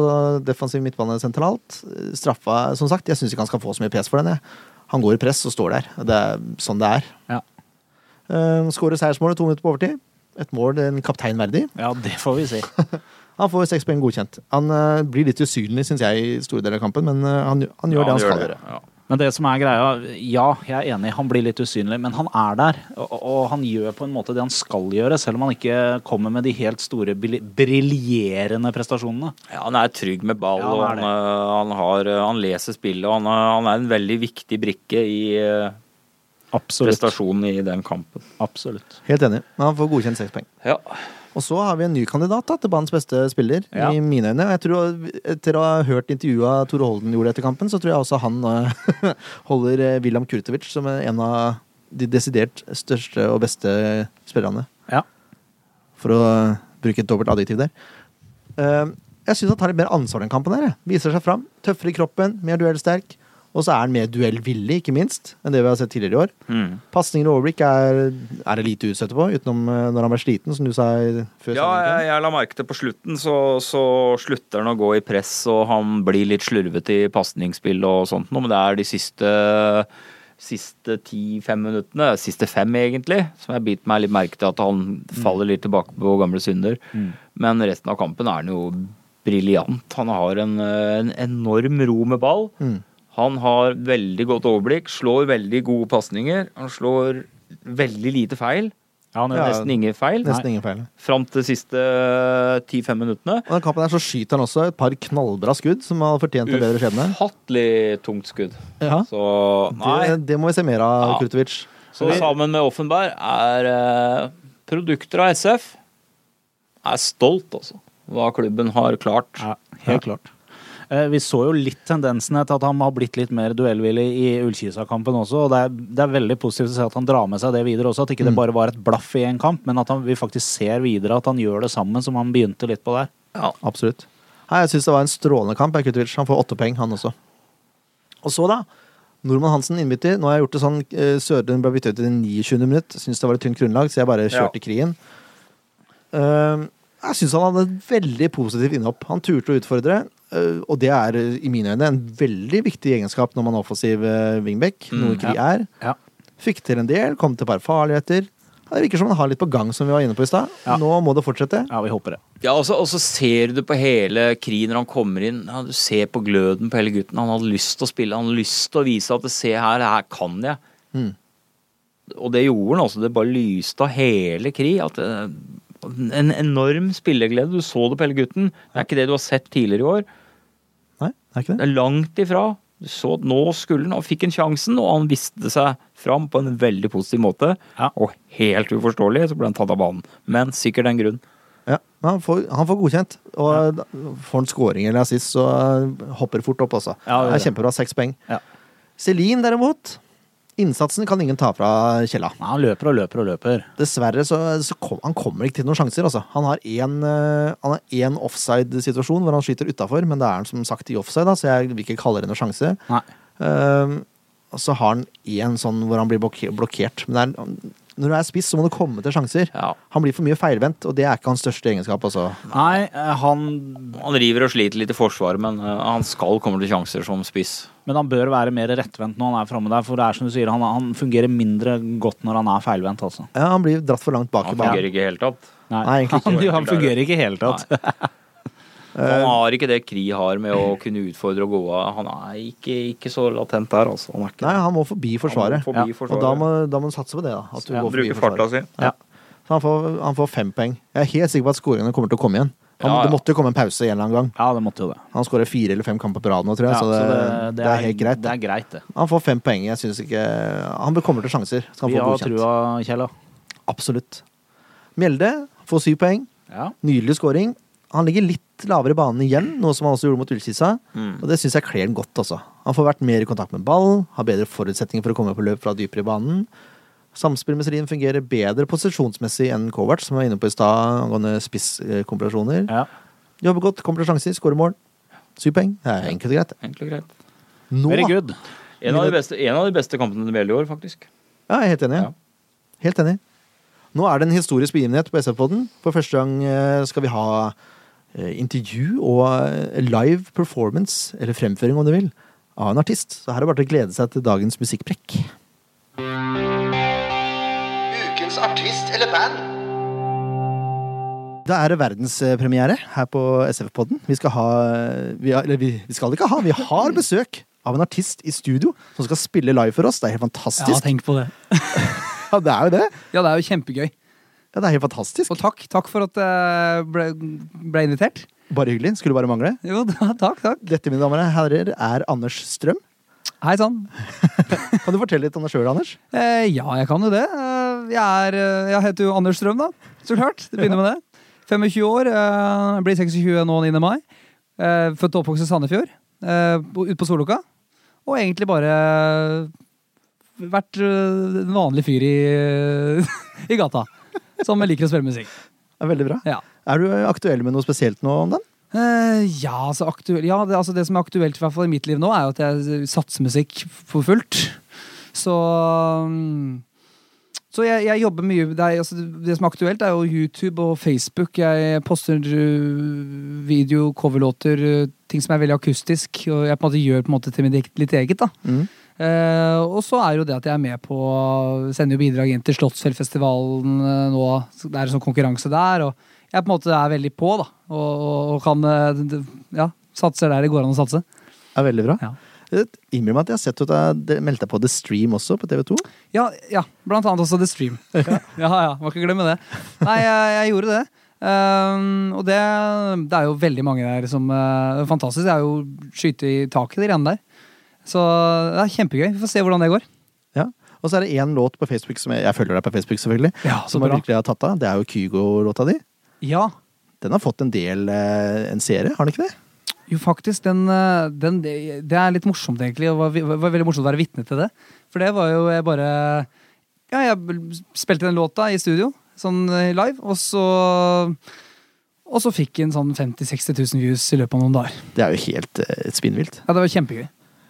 defensiv midtbane sentralt. Straffa, som sagt. Jeg syns ikke han skal få så mye pes for den, jeg. Han går i press og står der. Det er sånn det er. Ja. Uh, Skårer seiersmålet to minutter på overtid. Et mål en kaptein verdig. ja, det får vi si. Han får seks poeng godkjent. Han eh, blir litt usynlig, syns jeg, i store deler av kampen, men eh, han, han gjør Ja, det han skal gjøre. Ja. Men det som er greia, ja, jeg er enig, han blir litt usynlig, men han er der. Og, og han gjør på en måte det han skal gjøre, selv om han ikke kommer med de helt store, bril- briljerende prestasjonene. Ja, han er trygg med ball, Ja, han og er han, det. øh, han, har, øh, han leser spillet. Og han, er- han er en veldig viktig brikke i øh, Absolutt. prestasjonen i den kampen. Absolutt. Helt enig. Men han får godkjent seks poeng. Ja. Og så har vi en ny kandidat da, til banens beste spiller, Ja. i mine øyne. Og jeg tror, Etter å ha hørt intervjuet av Tore Holden gjorde etter kampen, så tror jeg også han eh, <laughs> holder eh, William Kurtovic som en av de desidert største og beste spillerne. Ja. For å eh, bruke et dobbelt adjektiv der. Eh, Jeg syns han tar litt mer ansvar den kampen. her. jeg. Viser seg fram. Tøffere i kroppen, mer duellsterk. Og så er han mer duellvillig, ikke minst, enn det vi har sett tidligere i år. Mm. Pasninger og overblikk er, er det lite å utsette på, utenom eh, når han ble sliten, som du sa i- før. Ja, sendingen. jeg, jeg la merke til på slutten, så, så slutter han å gå i press, og han blir litt slurvete i pasningsspill og sånt noe, men det er de siste siste ti-fem minuttene, siste fem egentlig, som jeg biter meg litt merke til at han Mm. faller litt tilbake på gamle synder. Men resten av kampen er han jo briljant. Han har en, eh, en enorm ro med ball. Mm. Han har veldig godt overblikk, slår veldig gode pasninger. Han slår veldig lite feil. Ja, han gjør Ja. det. Nesten ingen feil Nesten ingen feil. fram til siste eh, 10-5 minuttene. Og den kampen der så skyter han også et par knallbra skudd som har fortjent en bedre skjebne. Ufattelig tungt skudd. Ja. Så Det, nei. det må vi se mer av, Ja. Kurtovic. Så sammen med Offenberg er eh, produkter av SF. Er stolt, altså. Hva klubben har klart. Ja, helt klart. Eh, Vi så jo litt tendensene til at han har blitt litt mer duellvillig i Ullkisa-kampen også. og det er, det er veldig positivt å se at han drar med seg det videre også. At ikke det bare var et blaff i en kamp, men at han, vi faktisk ser videre at han gjør det sammen som han begynte litt på der. Ja. Absolutt. Nei, jeg syns det var en strålende kamp. jeg, Kurtovic. Han får åtte poeng, han også. Og så, da. Nordmann Hansen innbytter. Nå har jeg gjort det sånn eh, Sørdun ble byttet ut i det 29. minutt. Syns det var et tynt grunnlag, så jeg bare kjørte krigen. Eh, jeg syns han hadde et veldig positivt innhopp. Han turte å utfordre. eh, og det er eh, i mine øyne en veldig viktig egenskap når man er offensiv uh, wingback, Mm, noe ikke de er. Ja. Fikk til en del, kom til et par farligheter. Ja, Det virker som han har litt på gang, som vi var inne på i stad. Ja. Nå må det fortsette. Ja, vi håper det. Ja, og så, og så ser du på hele Kri når han kommer inn. Ja, du ser på gløden på hele gutten. Han hadde lyst til å spille, han hadde lyst til å vise at se her, det her kan jeg. Mm. Og det gjorde han også. Det bare lyste av hele Kri. At, eh, en enorm spilleglede. Du så det på hele gutten. Det er ikke det du har sett tidligere i år. Nei, det er ikke det. Det er langt ifra. Du så at nå skulle han, og fikk han sjansen, og han viste seg fram på en veldig positiv måte. Ja. Og helt uforståelig, så ble han tatt av banen. Men sikkert en grunn. Ja, men han får, han får godkjent. Og da får han scoring eller assist, så hopper det fort opp, altså. Ja, det det gjør er kjempebra. Seks poeng. Ja. Celine, derimot. Innsatsen kan ingen ta fra Kjella. Nei, han løper og løper og løper. Dessverre så, så kom, han kommer ikke til noen sjanser, altså. Han har én, eh, han har én offside-situasjon hvor han skyter utafor, men det er han som sagt i offside, da, så jeg vil ikke kalle det noen sjanse. Nei. Ehm, Eh, og så har han én sånn hvor han blir blokke- blokkert, men det er, når du er spiss, så må du komme til sjanser. Ja. Han blir for mye feilvendt, og det er ikke hans største egenskap. Altså. Nei, eh, han Han river og sliter litt i forsvaret, men eh, han skal komme til sjanser som spiss. Men han bør være mer rettvendt når han er framme der, for det er som du sier, han, han fungerer mindre godt når han er feilvendt, altså. Ja, han blir dratt for langt bak i Han banen. fungerer ikke i det hele tatt. Nei, Nei, egentlig <laughs> han, ikke. han fungerer ikke i hele tatt. <laughs> Han har ikke det Kri har med å kunne utfordre og gå av. Han er ikke, ikke så latent der, altså. Han er ikke Nei, han må forbi forsvaret. Han må forbi Ja, forsvaret. Og da må, da må du satse på det, da. At du Ja, går forbi bruke farta forsvaret. si. Ja. Så han får, han får fem poeng. Jeg er helt sikker på at skåringene kommer til å komme igjen. Han, Ja, ja. Det måtte jo komme en pause en eller annen gang. Ja, det måtte jo det. Han skårer fire eller fem kamper på rad nå, tror jeg, Ja, så, det, det, er, helt greit. Det er greit, det. Han får fem poeng. Jeg synes ikke Han kommer til sjanser. Skal Vi han få har godkjent. trua, Kjell. ja. Absolutt. Mjelde får syv poeng. Ja. Nydelig scoring. Han ligger litt lavere i banen igjen, noe som han også gjorde mot Ullkisa. Mm. Og det syns jeg kler ham godt, altså. Han får vært mer i kontakt med ball, har bedre forutsetninger for å komme på løp fra dypere i banen. Samspill med Serin fungerer bedre posisjonsmessig enn Kovac, som vi var inne på i stad angående spisskombinasjoner. ja. Jobber godt, kommer til sjanser, skårer mål. Syv poeng. Det er enkelt og greit. Egentlig greit. Nå Very good. En av de beste, en av de beste kampene til Bjelle i år, faktisk. Ja, jeg er helt enig. Ja. Helt enig. Nå er det en historisk begivenhet på SF-podden. For første gang eh, skal vi ha eh, intervju og eh, live performance, eller fremføring om du vil, av en artist. Så her er det bare til å glede seg til dagens musikkprekk. Ukens artist eller band. Da er det verdenspremiere her på SF-podden. Vi skal ha eh, vi har, Eller vi, vi skal ikke ha, vi har besøk av en artist i studio som skal spille live for oss. Det er helt Ja, fantastisk. tenk på det. <laughs> Ja, det er jo det. Ja, det er jo kjempegøy. Ja, det er helt fantastisk. Og takk, takk for at jeg ble, ble invitert. Bare hyggelig. Skulle bare mangle. Jo, <laughs> da, takk, takk. Dette, mine damer og herrer, er Anders Strøm. Hei sann. Kan du fortelle litt om deg sjøl, Anders? Eh, ja, jeg kan jo det. Eh, jeg, er, eh, jeg heter jo Anders Strøm, da. Så klart. Det begynner med det. 25 år. Eh, blir 26 nå 9. mai. Eh, født og oppvokst i Sandefjord. Eh, Ute på Solokka. Og egentlig bare vært eh, en vanlig fyr i, i <laughs> gata. Som liker å spille musikk. Ja, veldig bra. Ja. Er du aktuell med noe spesielt nå om den? Eh, ja, altså, aktuell, ja det, altså det som er aktuelt i, hvert fall i mitt liv nå, er jo at jeg satser musikk for fullt. Så mm, Så jeg, jeg jobber mye det, er, altså, det som er aktuelt, er jo YouTube og Facebook. Jeg poster uh, video, coverlåter, uh, ting som er veldig akustisk. Og jeg på en måte gjør på en måte til mitt eget- litt eget. da Eh, og så er jo det at jeg er med på Sender jo bidrag inn til Slottsfjellfestivalen eh, nå. Så Det er en sånn konkurranse der. Og jeg på en måte er veldig på, da. Og, og, og kan eh, d- d- Ja, satser der det går an å satse. Ja, veldig bra. Ja. Innrøm at jeg har sett at jeg meldte deg på The Stream også, på TV2. Ja, ja, blant annet også The Stream. Ja, ja, må ikke glemme det. Nei, jeg, jeg gjorde det. Ehm, og det, det er jo veldig mange der som eh, Fantastisk. Det er jo skyte i taket, de greiene der. Så det er kjempegøy. Vi får se hvordan det går. Ja. Og så er det én låt på Facebook som jeg, jeg følger deg på Facebook, selvfølgelig. Ja, så som jeg bra. virkelig har tatt av. Det er jo Kygo-låta di. Ja, Den har fått en del eh, en serie, har den ikke det? Jo, faktisk. Den, eh, den, det det er litt morsomt, egentlig. og Det var, det var veldig morsomt å være vitne til det. For det var jo jeg bare Ja, jeg bl- spilte den låta i studio, sånn eh, live, og så Og så fikk den sånn 50 000-60 000 views i løpet av noen dager. Det er jo helt eh, spinnvilt. Ja, det var kjempegøy.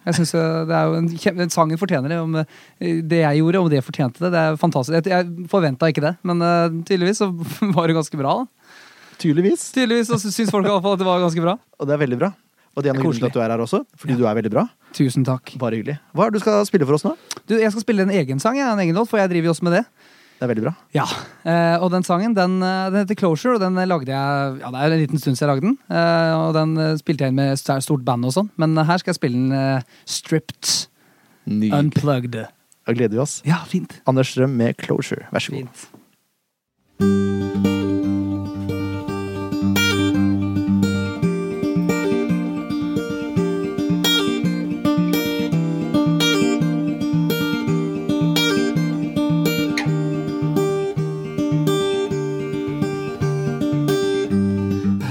Jeg synes eh, det er jo en, kjem- den Sangen fortjener det. Om eh, det jeg gjorde, om det fortjente det. Det er fantastisk. Jeg, jeg forventa ikke det, men eh, tydeligvis så <laughs> var det ganske bra. da. Tydeligvis. Tydeligvis så syns folk i alle fall at det var ganske bra. Og det er veldig bra. Og det er Det noe er koselig koselig. at du er her også, fordi du er veldig bra. Tusen takk. Bare hyggelig. Hva er det du skal spille for oss nå? Du, jeg skal spille en egen sang, jeg, en egen låt, for jeg driver jo også med det. Det er veldig bra. Ja, eh, Og den sangen den, eh, den heter Closure, og den eh, lagde jeg Ja, det er en liten stund siden jeg lagde den. eh, Og den eh, spilte jeg inn med st- stort band og sånn, men eh, her skal jeg spille den eh, stripped. Nydelig. Unplugged. Da gleder vi oss. Ja, fint. Anders Strøm med 'Closure'. Vær så god. Fint.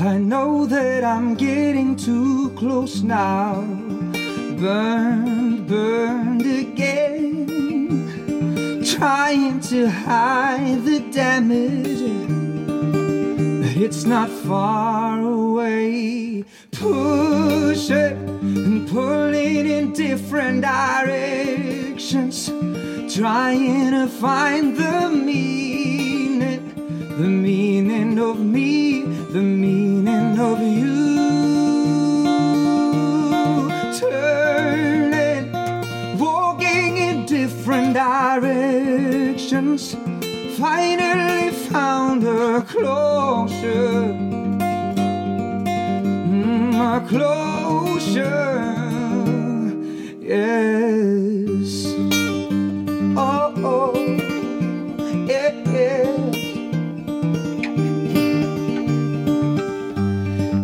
I know that I'm getting too close now. Burned, burned again. Trying to hide the damage. but It's not far away. Push it and pull it in different directions. trying to find the meaning, the meaning of me, the meaning of you. Turning, walking in different directions, finally found a closure. Mm, a closure, yes. Oh, oh, yeah, yeah.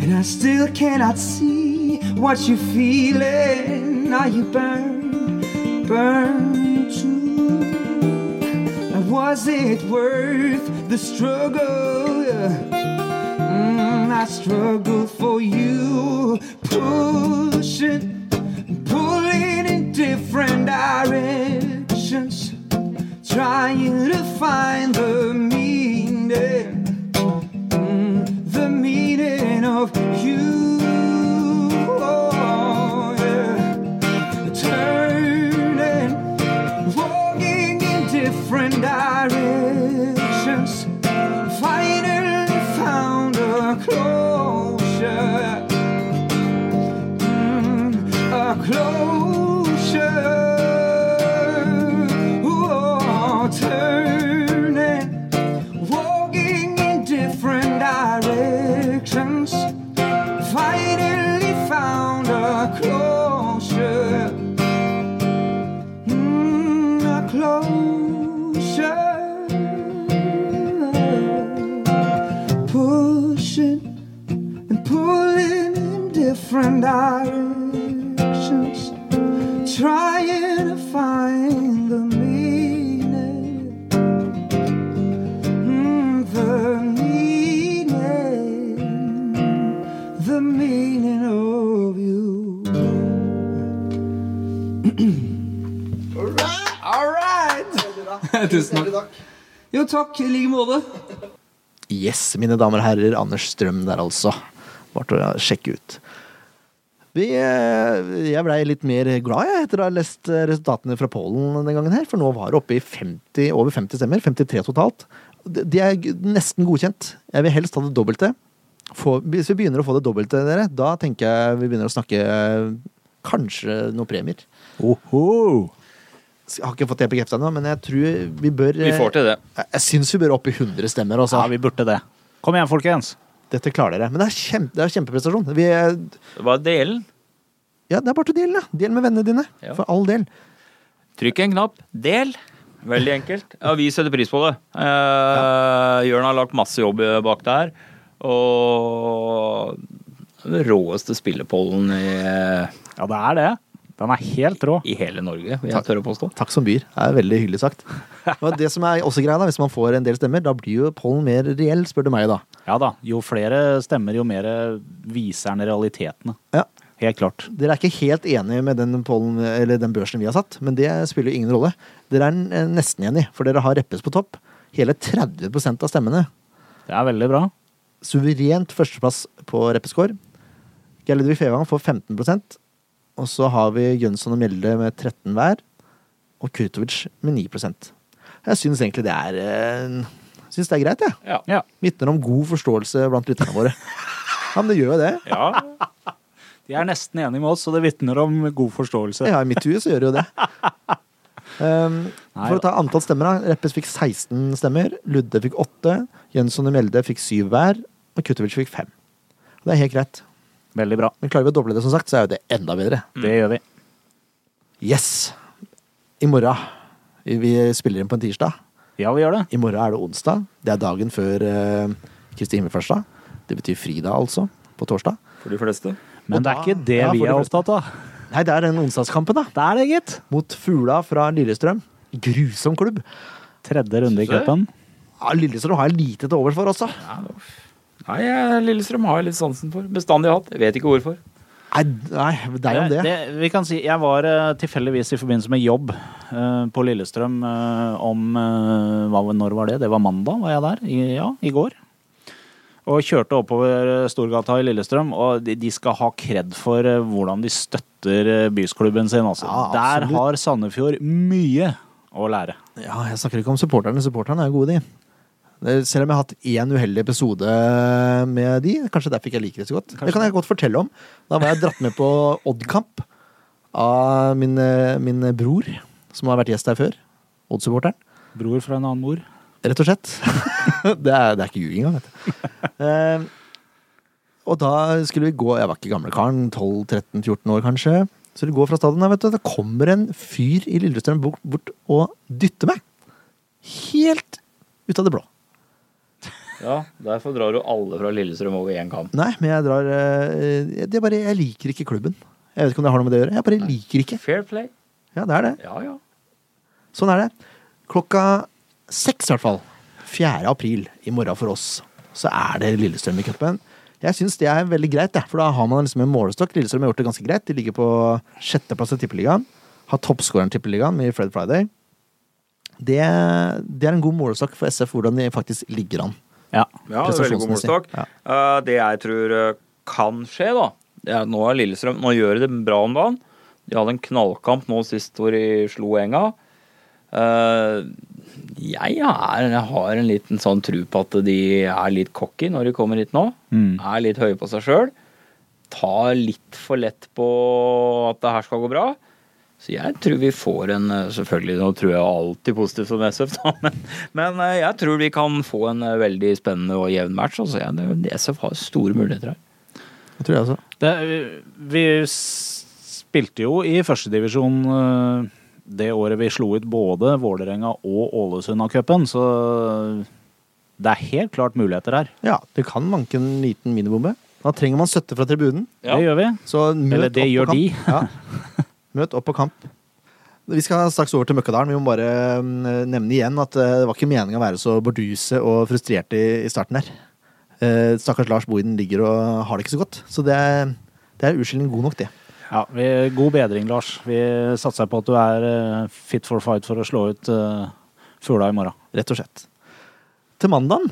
And I still cannot see what you're feeling. Are you burned, burned too? And was it worth the struggle? Mm, I struggled for you, pushing, pulling in different directions, trying to find the meaning, mm, the meaning of you. Oh, yeah. Turning, walking in different directions. Finally found a closure. Mm, a closure. Ooh, Oh, turning, walking in different directions. Finally found a closure. Mm, a closure. Pushing and pulling in different directions, trying to find the meaning. Mm, the meaning, the meaning of you. All right! Tusen takk. Jo, takk. I like måte. Yes, mine damer og herrer. Anders Strøm der, altså. Bare til å sjekke ut. Vi, eh, jeg blei litt mer glad jeg, etter å ha lest eh, resultatene fra Polen den gangen her, for nå var det oppe i 50, over 50 stemmer. 53 totalt. Det det er g- nesten godkjent. Jeg vil helst ha det dobbelte. Få- hvis vi begynner å få det dobbelte, dere, da tenker jeg vi begynner å snakke eh, kanskje noen premier. Oho! Jeg har ikke fått det bekreftet ennå, men jeg tror vi bør eh, Vi får til det. Jeg, jeg syns vi bør opp i 100 stemmer, altså. Ja, vi burde det. Kom igjen, folkens. Dette klarer dere. Men det er, kjempe, det er kjempeprestasjon. Vi, er- Det var delen. ja, det er bare til å dele, da. Del med vennene dine. Ja. For all del. Trykk en knapp. Del. Veldig enkelt. Ja, vi setter pris på det. Eh, Jørn har lagt masse jobb bak det her. Og den råeste spillepollen i, Ja, det er det. Den er helt rå. i hele Norge, vil jeg tørre å påstå. Takk som byr. Det er veldig hyggelig sagt. Og det som er også greia da, Hvis man får en del stemmer, da blir jo pollen mer reell, spør du meg. da. Ja da. Jo flere stemmer, jo mer viser den realitetene. Ja. Helt klart. Dere er ikke helt enige med den, pollen, eller den børsen vi har satt, men det spiller jo ingen rolle. Dere er n- nesten enige, for dere har Reppes på topp. Hele 30 av stemmene. Det er veldig bra. Suverent førsteplass på Reppeskår. Geir Ludvig Fevang får 15 Og så har vi Jønsson og Mjelde med 13 hver. Og Kurtovic med 9 Jeg syns egentlig det er eh, Syns det er greit, jeg. Ja. Ja. Vitner om god forståelse blant lytterne våre. Ja, men det gjør jo det. Ja. De er nesten enige med oss, og det vitner om god forståelse. Ja, I mitt hue så gjør det jo det. Um, Nei for å ta antall stemmer, da. Reppes fikk 16 stemmer. Ludde fikk 8. Jønsson og Mjelde fikk 7 hver. Og Kurtovic fikk 5. Det er helt greit. Veldig bra. Men klarer vi å doble det, som sagt, så er jo det enda bedre. Det gjør vi. Yes! I morgen. Vi spiller inn på en tirsdag. Ja, vi gjør det. I morgen er det onsdag. Det er dagen før eh, Kristi himmelfartsdag. Det betyr fridag, altså. På torsdag. For de fleste. Og Men det er da- ikke det Ja, for vi det er første- opptatt av. Nei, det er den onsdagskampen, da. Det er det, gitt. Mot Fula fra Lillestrøm. Grusom klubb. Tredje runde i cupen. Ja, Lillestrøm har jeg lite til overs for også. Nei, jeg- Lillestrøm har jeg litt sansen for. Bestandig hatt. Jeg vet ikke hvorfor. Nei, nei deg om det. vi kan si, jeg var eh, tilfeldigvis i forbindelse med jobb eh, på Lillestrøm eh, om eh, hva, Når var det? Det var mandag, var jeg der? I, ja, i går. Og kjørte oppover eh, Storgata i Lillestrøm, og de, de skal ha kred for eh, hvordan de støtter eh, bysklubben sin. Altså. Ja, Der absolutt. har Sandefjord mye å lære. Ja, jeg snakker ikke om supporterne. Supporterne er jo gode, de. Det- Selv om jeg har hatt én uheldig episode med de, kanskje derfor ikke jeg liker det så godt. Det kan jeg godt fortelle om. Da var jeg dratt med på Odd-kamp av min, eh, min bror, som har vært gjest her før. Odd-supporteren. Bror fra en annen mor. Rett og slett. <laughs> det, er, det er ikke ljuging, vet du. Eh, og da skulle vi gå Jeg var ikke gamle karen, 12-13-14 år kanskje. Så vi går fra stadion, der, vet du. Da kommer en fyr i Lillestrøm bort, bort og dytter meg. Helt ut av det blå. Ja, derfor drar du alle fra Lillestrøm over én kam. Nei, men jeg drar eh, det er bare, Jeg liker ikke klubben. Jeg vet ikke om det har noe med det å gjøre. Jeg bare liker ikke. Fair play. Ja, det er det. Ja, ja. Sånn er det. Klokka seks, i hvert fall. 4. april i morgen for oss. Så er det Lillestrøm i cupen. Jeg syns det er veldig greit, jeg, for da har man liksom en målestokk. Lillestrøm har gjort det ganske greit. De ligger på sjetteplass i Tippeligaen. Har toppskåreren i Tippeligaen med Fred Friday. Det, det er en god målestokk for SF, hvordan de faktisk ligger an. Ja. Ja, det er veldig god målestokk. Ja. Eh, det jeg tror eh, kan skje, da det er at Nå er Lillestrøm Nå gjør de det bra om dagen. De hadde en knallkamp nå sist hvor de slo Enga. Eh, jeg, er, jeg har en liten sånn tru på at de er litt cocky når de kommer hit nå. Mm. Er litt høye på seg sjøl. Tar litt for lett på at det her skal gå bra. Så jeg tror vi får en eh, Selvfølgelig, nå tror jeg alltid positivt om SF, da, <laughs> men, men eh, jeg tror vi kan få en eh, veldig spennende og jevn match. Altså, jeg, det- SF har store muligheter her. Det tror jeg også. Det, vi s- spilte jo i førstedivisjon øh, det året vi slo ut både Vålerenga og Ålesund av cupen, så det er helt klart muligheter her. Ja, det kan manke en liten minibombe. Da trenger man støtte fra tribunen. Ja. Det gjør vi. Så møt Eller det opp gjør på de. kamp. <laughs> Ja. Møt opp på kamp. Vi skal straks over til Møkkadalen. Vi må bare mm, nevne igjen at eh, det var ikke meninga å være så borduse og frustrert i, i starten der. Eh, Stakkars Lars Boiden ligger og har det ikke så godt. Så det er, det er unnskyldning god nok, det. Ja, vi, god bedring, Lars. Vi satser på at du er øh, fit for fight for å slå ut øh, Fugla i morgen. Rett og slett. Til mandagen,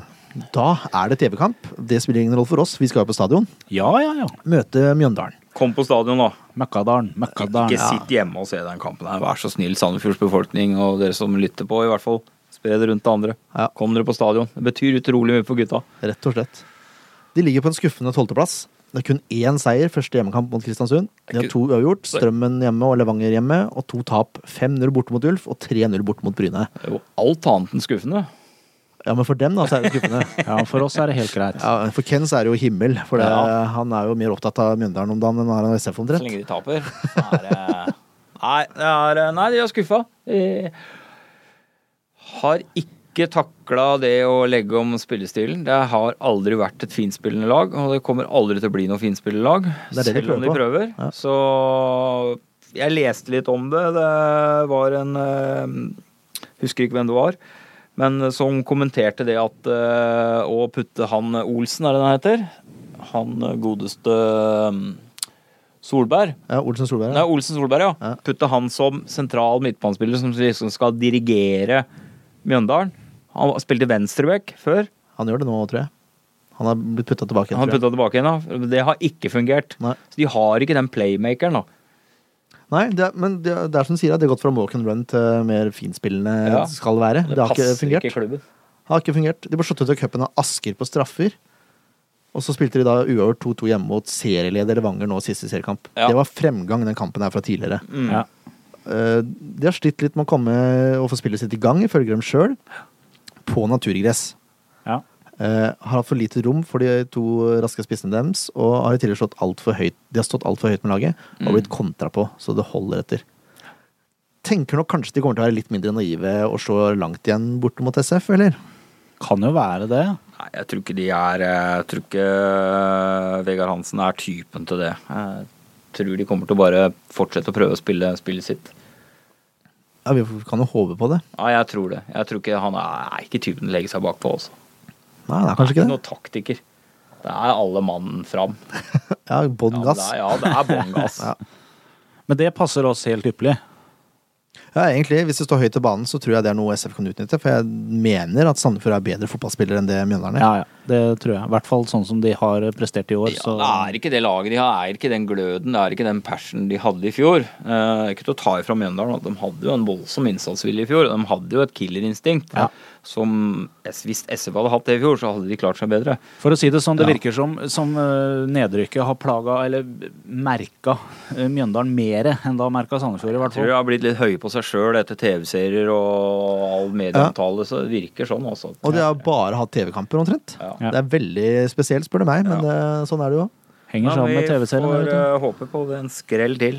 da er det TV-kamp. Det spiller ingen rolle for oss, vi skal jo på stadion. Ja, ja, ja. Møte Mjøndalen. Kom på stadion, da. Møkkadalen. Møkkadalen. Ikke Ja. sitt hjemme og se den kampen her. Vær så snill, Sandefjords befolkning og dere som lytter på, i hvert fall. Spre det rundt til andre. Ja. Kom dere på stadion. Det betyr utrolig mye for gutta. Rett og slett. De ligger på en skuffende tolvteplass. Det er kun én seier, første hjemmekamp mot Kristiansund. De har to uavgjort, Strømmen hjemme og Levanger hjemme, og to tap. 5-0 borte mot Ulf og 3-0 borte mot Bryne. Det er jo alt annet enn skuffende. Ja, men for dem, da, så er det <laughs> skuffende. ja, for oss er det helt greit. Ja, for Ken så er det jo himmel, for det, Ja. han er jo mer opptatt av Mjøndalen om dagen enn han er av SF Så omtrent. lenge de taper. så Er, det- nei, det er, nei, de er Eh, skuffa. De har ikke takla det å legge om spillestilen. Det har aldri vært et finspillende lag, og det kommer aldri til å bli noe finspillende lag. Det er det de selv om de prøver prøver. Så jeg leste litt om det. Det var en eh, Husker ikke hvem det var. Men som kommenterte det at eh, å putte han Olsen, er det han heter? Han godeste eh, Solberg. Ja, Olsen Solberg. Nei, Ja. Olsen Solberg, ja. Ja. Putte han som sentral midtbanespiller som liksom skal dirigere Mjøndalen. Han spilte venstreback før. Han gjør det nå, tror jeg. Han har blitt putta tilbake. Han igjen, tror jeg. putta tilbake igjen, da. Det har ikke fungert. Nei. Så de har ikke den playmakeren, da. Nei, det er, men det, er- det er som du sier, det er gått fra walk and run til mer finspillende Ja. det skal være. Det, har ikke passer fungert. ikke klubben. Har ikke fungert. De ble slått ut av cupen av Asker på straffer. Og så spilte de da uavgjort 2-2 hjemme mot serieleder Levanger nå siste seriekamp. Ja. Det var fremgang den kampen her fra tidligere. Mm. Ja. Eh, De har slitt litt med å komme og få spillet sitt i gang, ifølge dem sjøl, på naturgress. Ja. Eh, har hatt for lite rom for de to raske spissene deres, og har i tillegg slått alt for høyt. De har stått altfor høyt med laget og blitt kontra på, så det holder etter. Tenker nok kanskje de kommer til å være litt mindre naive og slå langt igjen borte mot SF, eller? Kan jo være det. Nei, jeg tror ikke de er Jeg tror ikke eh, Vegard Hansen er typen til det. Jeg tror de kommer til å bare fortsette å prøve å spille spillet sitt. Ja, vi kan jo håpe på det. Ja, jeg tror det. Jeg tror ikke Han er, er ikke typen til å legge seg bakpå, altså. Nei, det er kanskje ikke det. Noen taktiker. Det er alle mann fram. Ja, bånn Ja, gass. det er, ja, det er bånn <laughs> gass. Ja. Men det passer oss helt ypperlig. Ja, egentlig, hvis det står høyt i banen, så tror jeg det er noe SF kan utnytte. For jeg mener at Sandefjord er bedre fotballspiller enn det Mjøndalen er. Ja, ja. Det tror jeg. I hvert fall sånn som de har prestert i år. Ja, så det er ikke det laget de har, det er ikke den gløden, det er ikke den passion de hadde i fjor. Eh, ikke til å ta ifra Mjøndalen at de hadde jo en voldsom innsatsvilje i fjor. De hadde jo et killerinstinkt Ja. som Hvis SF hadde hatt det i fjor, så hadde de klart seg bedre. For å si det sånn, det Ja. virker som, som eh, nedrykket har plaga, eller merka, eh, Mjøndalen mere enn det har merka Sandefjord, i Jeg hvert tror de fall. har blitt litt høye på seg sjøl etter TV-serier og all medieomtale, så det virker sånn også. Og de har bare hatt TV-kamper, omtrent. Ja. Ja. Det er veldig spesielt, spør du meg, men eh, sånn er det jo. Henger sammen med Vi får TV-serien. eh, håpe på en skrell til.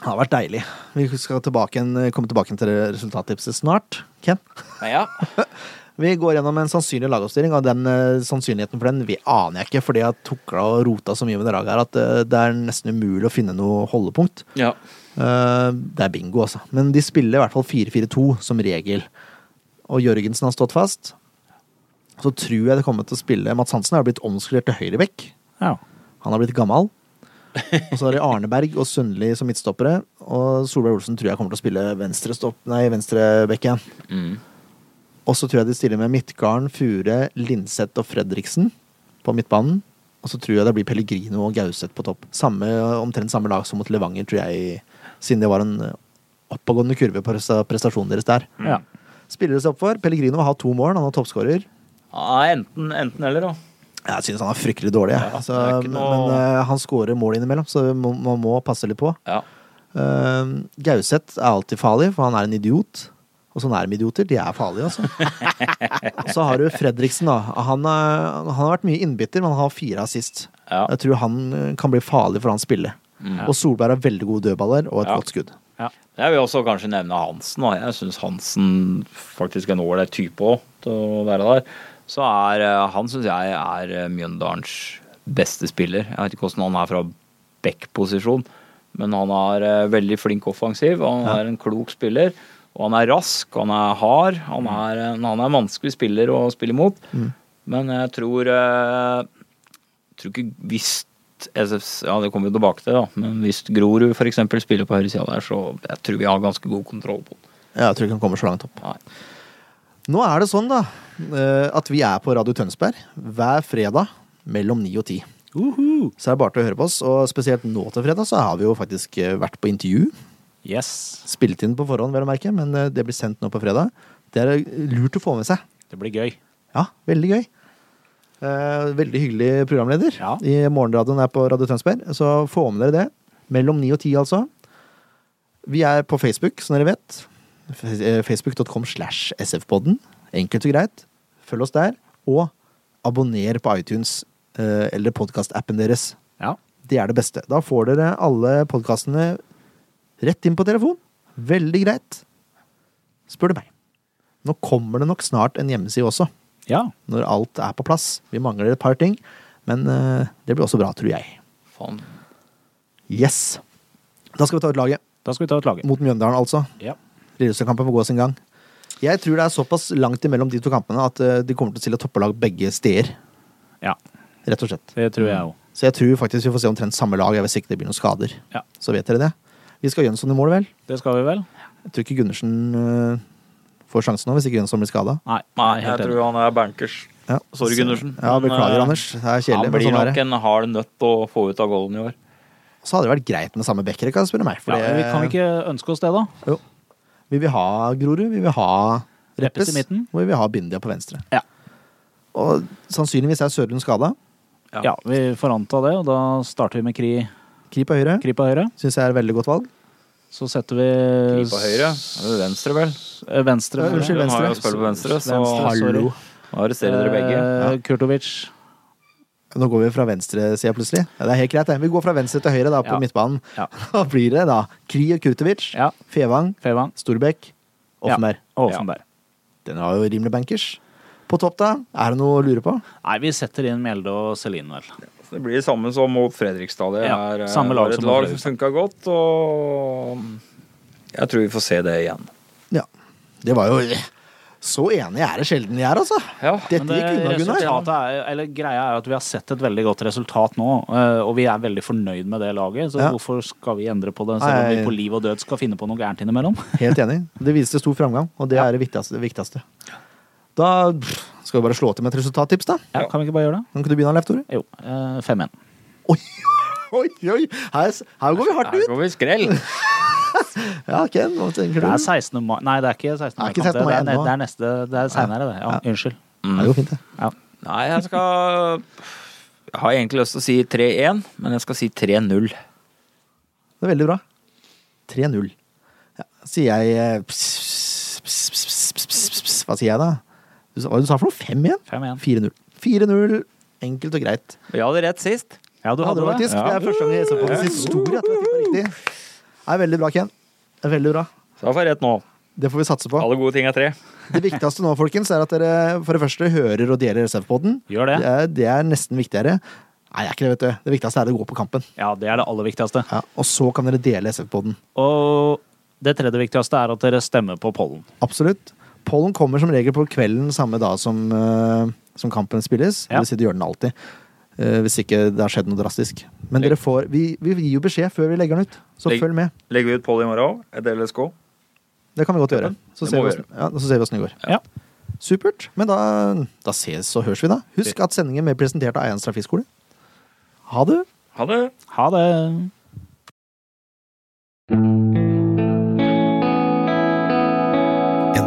Det har vært deilig. Vi skal tilbake igjen- eh, komme tilbake til resultattipset snart. Ken? Nei, ja. Vi går gjennom en sannsynlig lagoppstilling, og den eh, sannsynligheten for den vi aner jeg ikke, fordi jeg tukla og rota så mye med det laget her at eh, det er nesten umulig å finne noe holdepunkt. ja. Eh, det er bingo, altså. Men de spiller i hvert fall 4-4-2 som regel. Og Jørgensen har stått fast. Så tror jeg det kommer til å spille Mats Hansen har blitt omskulert til høyrebekk. Ja. Han har blitt gammal. Og så har de Arneberg og Sundli som midtstoppere. Og Solveig Olsen tror jeg kommer til å spille venstre stopp, nei, venstrebekk igjen. Mm. Og så tror jeg de stiller med Midtgarden, Fure, Linseth og Fredriksen på midtbanen. Og så tror jeg det blir Pellegrino og Gauseth på topp. Samme, omtrent samme lag som mot Levanger, tror jeg, siden det var en oppadgående kurve på presta- prestasjonen deres der. Ja. Spiller det seg opp for. Pellegrino har to mål, han er toppskårer. ja enten, enten eller, da. Jeg synes han er fryktelig dårlig, jeg. Ja, altså, det er ikke men noe- eh, han skårer mål innimellom, så må- man må passe litt på. Ja. Eh, Gauseth er alltid farlig, for han er en idiot. Og sånn er de med idioter. De er farlige, <laughs> altså. Og så har du Fredriksen, da. Han, er, han har vært mye innbytter, men han har fire assist. Ja. Mm. Jeg tror han eh, kan bli farlig for hans spille. Og Solberg har veldig gode dødballer og et Ja. godt skudd. Jeg vil også kanskje nevne Hansen. Da. Jeg syns Hansen faktisk er en ålreit type òg, til å være der. Så er eh, han, syns jeg, er eh, Mjøndalens beste spiller. Jeg vet ikke hvordan han er fra back-posisjon, men han er eh, veldig flink offensiv. og Han er en klok spiller. Og han er rask, han er hard. Han er en, han er en vanskelig spiller å spille imot. Men jeg tror eh, tror ikke hvis SFs, ja det kommer vi tilbake til da, men hvis Grorud for eksempel spiller på høyresida der, så jeg tror vi har ganske god kontroll på den. Ja, jeg tror ikke han kommer så langt opp. Nei. Nå er det sånn, da, eh, at vi er på Radio Tønsberg hver fredag mellom ni og ti. Uhu. Så er det bare til å høre på oss, og spesielt nå til fredag så har vi jo faktisk eh, vært på intervju. Yes. Spilt inn på forhånd, vel å merke, men eh, det blir sendt nå på fredag. Det er eh, lurt å få med seg. Det blir gøy. Ja, veldig gøy. Eh, veldig hyggelig programleder Ja. i morgenradioen her på Radio Tønsberg. Så få med dere det. Mellom ni og ti, altså. Vi er på Facebook, som dere vet. F- eh, Facebook.com slash sfpodden. Enkelt og greit. Følg oss der. Og abonner på iTunes eh, eller podkastappen deres. Ja. Det er det beste. Da får dere alle podkastene rett inn på telefon. Veldig greit. Spør du meg. Nå kommer det nok snart en hjemmeside også, Ja. når alt er på plass. Vi mangler et par ting, men eh, det blir også bra, tror jeg. Faen. Yes. Da skal vi ta ut laget. Da skal vi ta ut laget. Mot Mjøndalen, altså. Ja. Lillestrøm-kampen får gå sin gang. Jeg tror det er såpass langt imellom de to kampene at eh, de kommer til å stille toppelag begge steder. ja. Rett og slett. Det tror jeg òg. Så jeg tror faktisk vi får se omtrent samme lag, hvis ikke det blir noen skader. Ja. Så vet dere det. Vi skal ha Jønsson i mål, vel? Det skal vi vel? Jeg tror ikke Gundersen øh, får sjansen nå, hvis ikke Jønsson blir skada. Nei. Nei, helt jeg enig. tror han er bankers. Ja. Sorry, Så- Gundersen. Ja, Men, beklager, eh, Anders. Det er kjedelig. Han Men blir sånn er nok det. en hard nøtt å få ut av golden i år. Så hadde det vært greit med samme backrekka, spør du meg. For Ja, det- men vi kan ikke ønske oss det, da? Vi vil ha Grorud, vi vil ha Reppes Reppes, i midten. og vi vil ha Bindia på venstre. Ja. Og sannsynligvis er Sørlund skada. Ja. Vi får anta det, og da starter vi med Kri, Kri på høyre. kri på høyre. Syns jeg er et veldig godt valg. Så setter vi Kri på høyre. Eller venstre, vel. Eh, Venstre. Ja, unnskyld, Hun har jo venstre. spilt på venstre, så Venstre, sorry. nå arresterer dere begge. Eh, Kurtovic. Nå går vi fra venstresida plutselig. Ja, det er helt greit, det. Vi går fra venstre til høyre da, på Ja. midtbanen. <laughs> Ja. Da blir det da Kri og Kurtovic, Ja. Fevang, Fevang. Storbekk, Offenberg. Og sånn Offenberg. Den var jo rimelig bankers. På topp, da? Er det noe å lure på? Nei, vi setter inn Mjelde og Celine, vel. Det blir det samme som mot Fredrikstad. Det Ja, er eh, samme lag var et som mot lag som Fredrikstad. funka godt, og mm, jeg tror vi får se det igjen. Ja. Det var jo Så enig er det sjelden jeg er, altså. Ja, Dette Men det, gikk unna, Gunnar. resultatet er, eller greia er at vi har sett et veldig godt resultat nå, eh, og vi er veldig fornøyd med det laget. Så Ja. hvorfor skal vi endre på det, selv om Nei. vi på liv og død skal finne på noe gærent innimellom? Helt enig. Det viste stor framgang, og det er det viktigste. Det viktigste. Da pff, Skal vi bare slå til med et resultattips, da? Ja, kan vi ikke bare gjøre det? Kan ikke du begynne, Leif Tore? Jo. eh, 5-1. Oi, <laughs> oi, oi! Her, her går vi hardt Her ut! går vi skrell. Ja, Ken, hva tenker Det du? er 16. mai Nei, det er ikke Det 16. er mai. ikke 16. mai det, er, ennå. det er neste Det er seinere, det. Ja, unnskyld. Ja, det går fint, det. Nei, jeg skal Jeg har egentlig lyst til å si 3-1, men jeg skal si 3-0. Det er veldig bra. 3-0. Ja, sier jeg eh, pss, pss, pss, pss, pss, pss, pss. Hva sier jeg, da? Du sa- Hva var det du sa for noe? 5 igjen? 5-1. 4-0. 4-0. Enkelt og greit. Vi hadde rett sist. Ja, du Ja, hadde det. faktisk. Det Ja. er første gang jeg så på dets historie at jeg tippa riktig. Det er veldig bra, Ken. Det er veldig bra. Så jeg får rett nå. Det får vi satse på. Alle gode ting er tre. Det viktigste nå, folkens, er at dere for det første hører og deler SF-poden. Gjør det. Det, er- det er nesten viktigere. Nei, det er ikke det, vet du. Det viktigste er å gå på kampen. Ja, det er det aller viktigste. Ja, og så kan dere dele SF-poden. Og det tredje viktigste er at dere stemmer på pollen. Absolutt. Pollen kommer som regel på kvelden samme dag som, eh, som kampen spilles. Det Ja. vil si, det gjør den alltid. Eh, hvis ikke det har skjedd noe drastisk. Men dere får, vi, vi gir jo beskjed før vi legger den ut, så Legg- følg med. Legger vi ut poll i morgen òg? Etter LSK? Det kan vi godt gjøre. Så Det ser må vi, vi hvordan, ja, så ser vi hvordan det går. Ja. Supert. Men da, da ses og høres vi, da. Husk at sendingen ble presentert av Eians trafikkskole. Ha det. Ha det! Ha det! En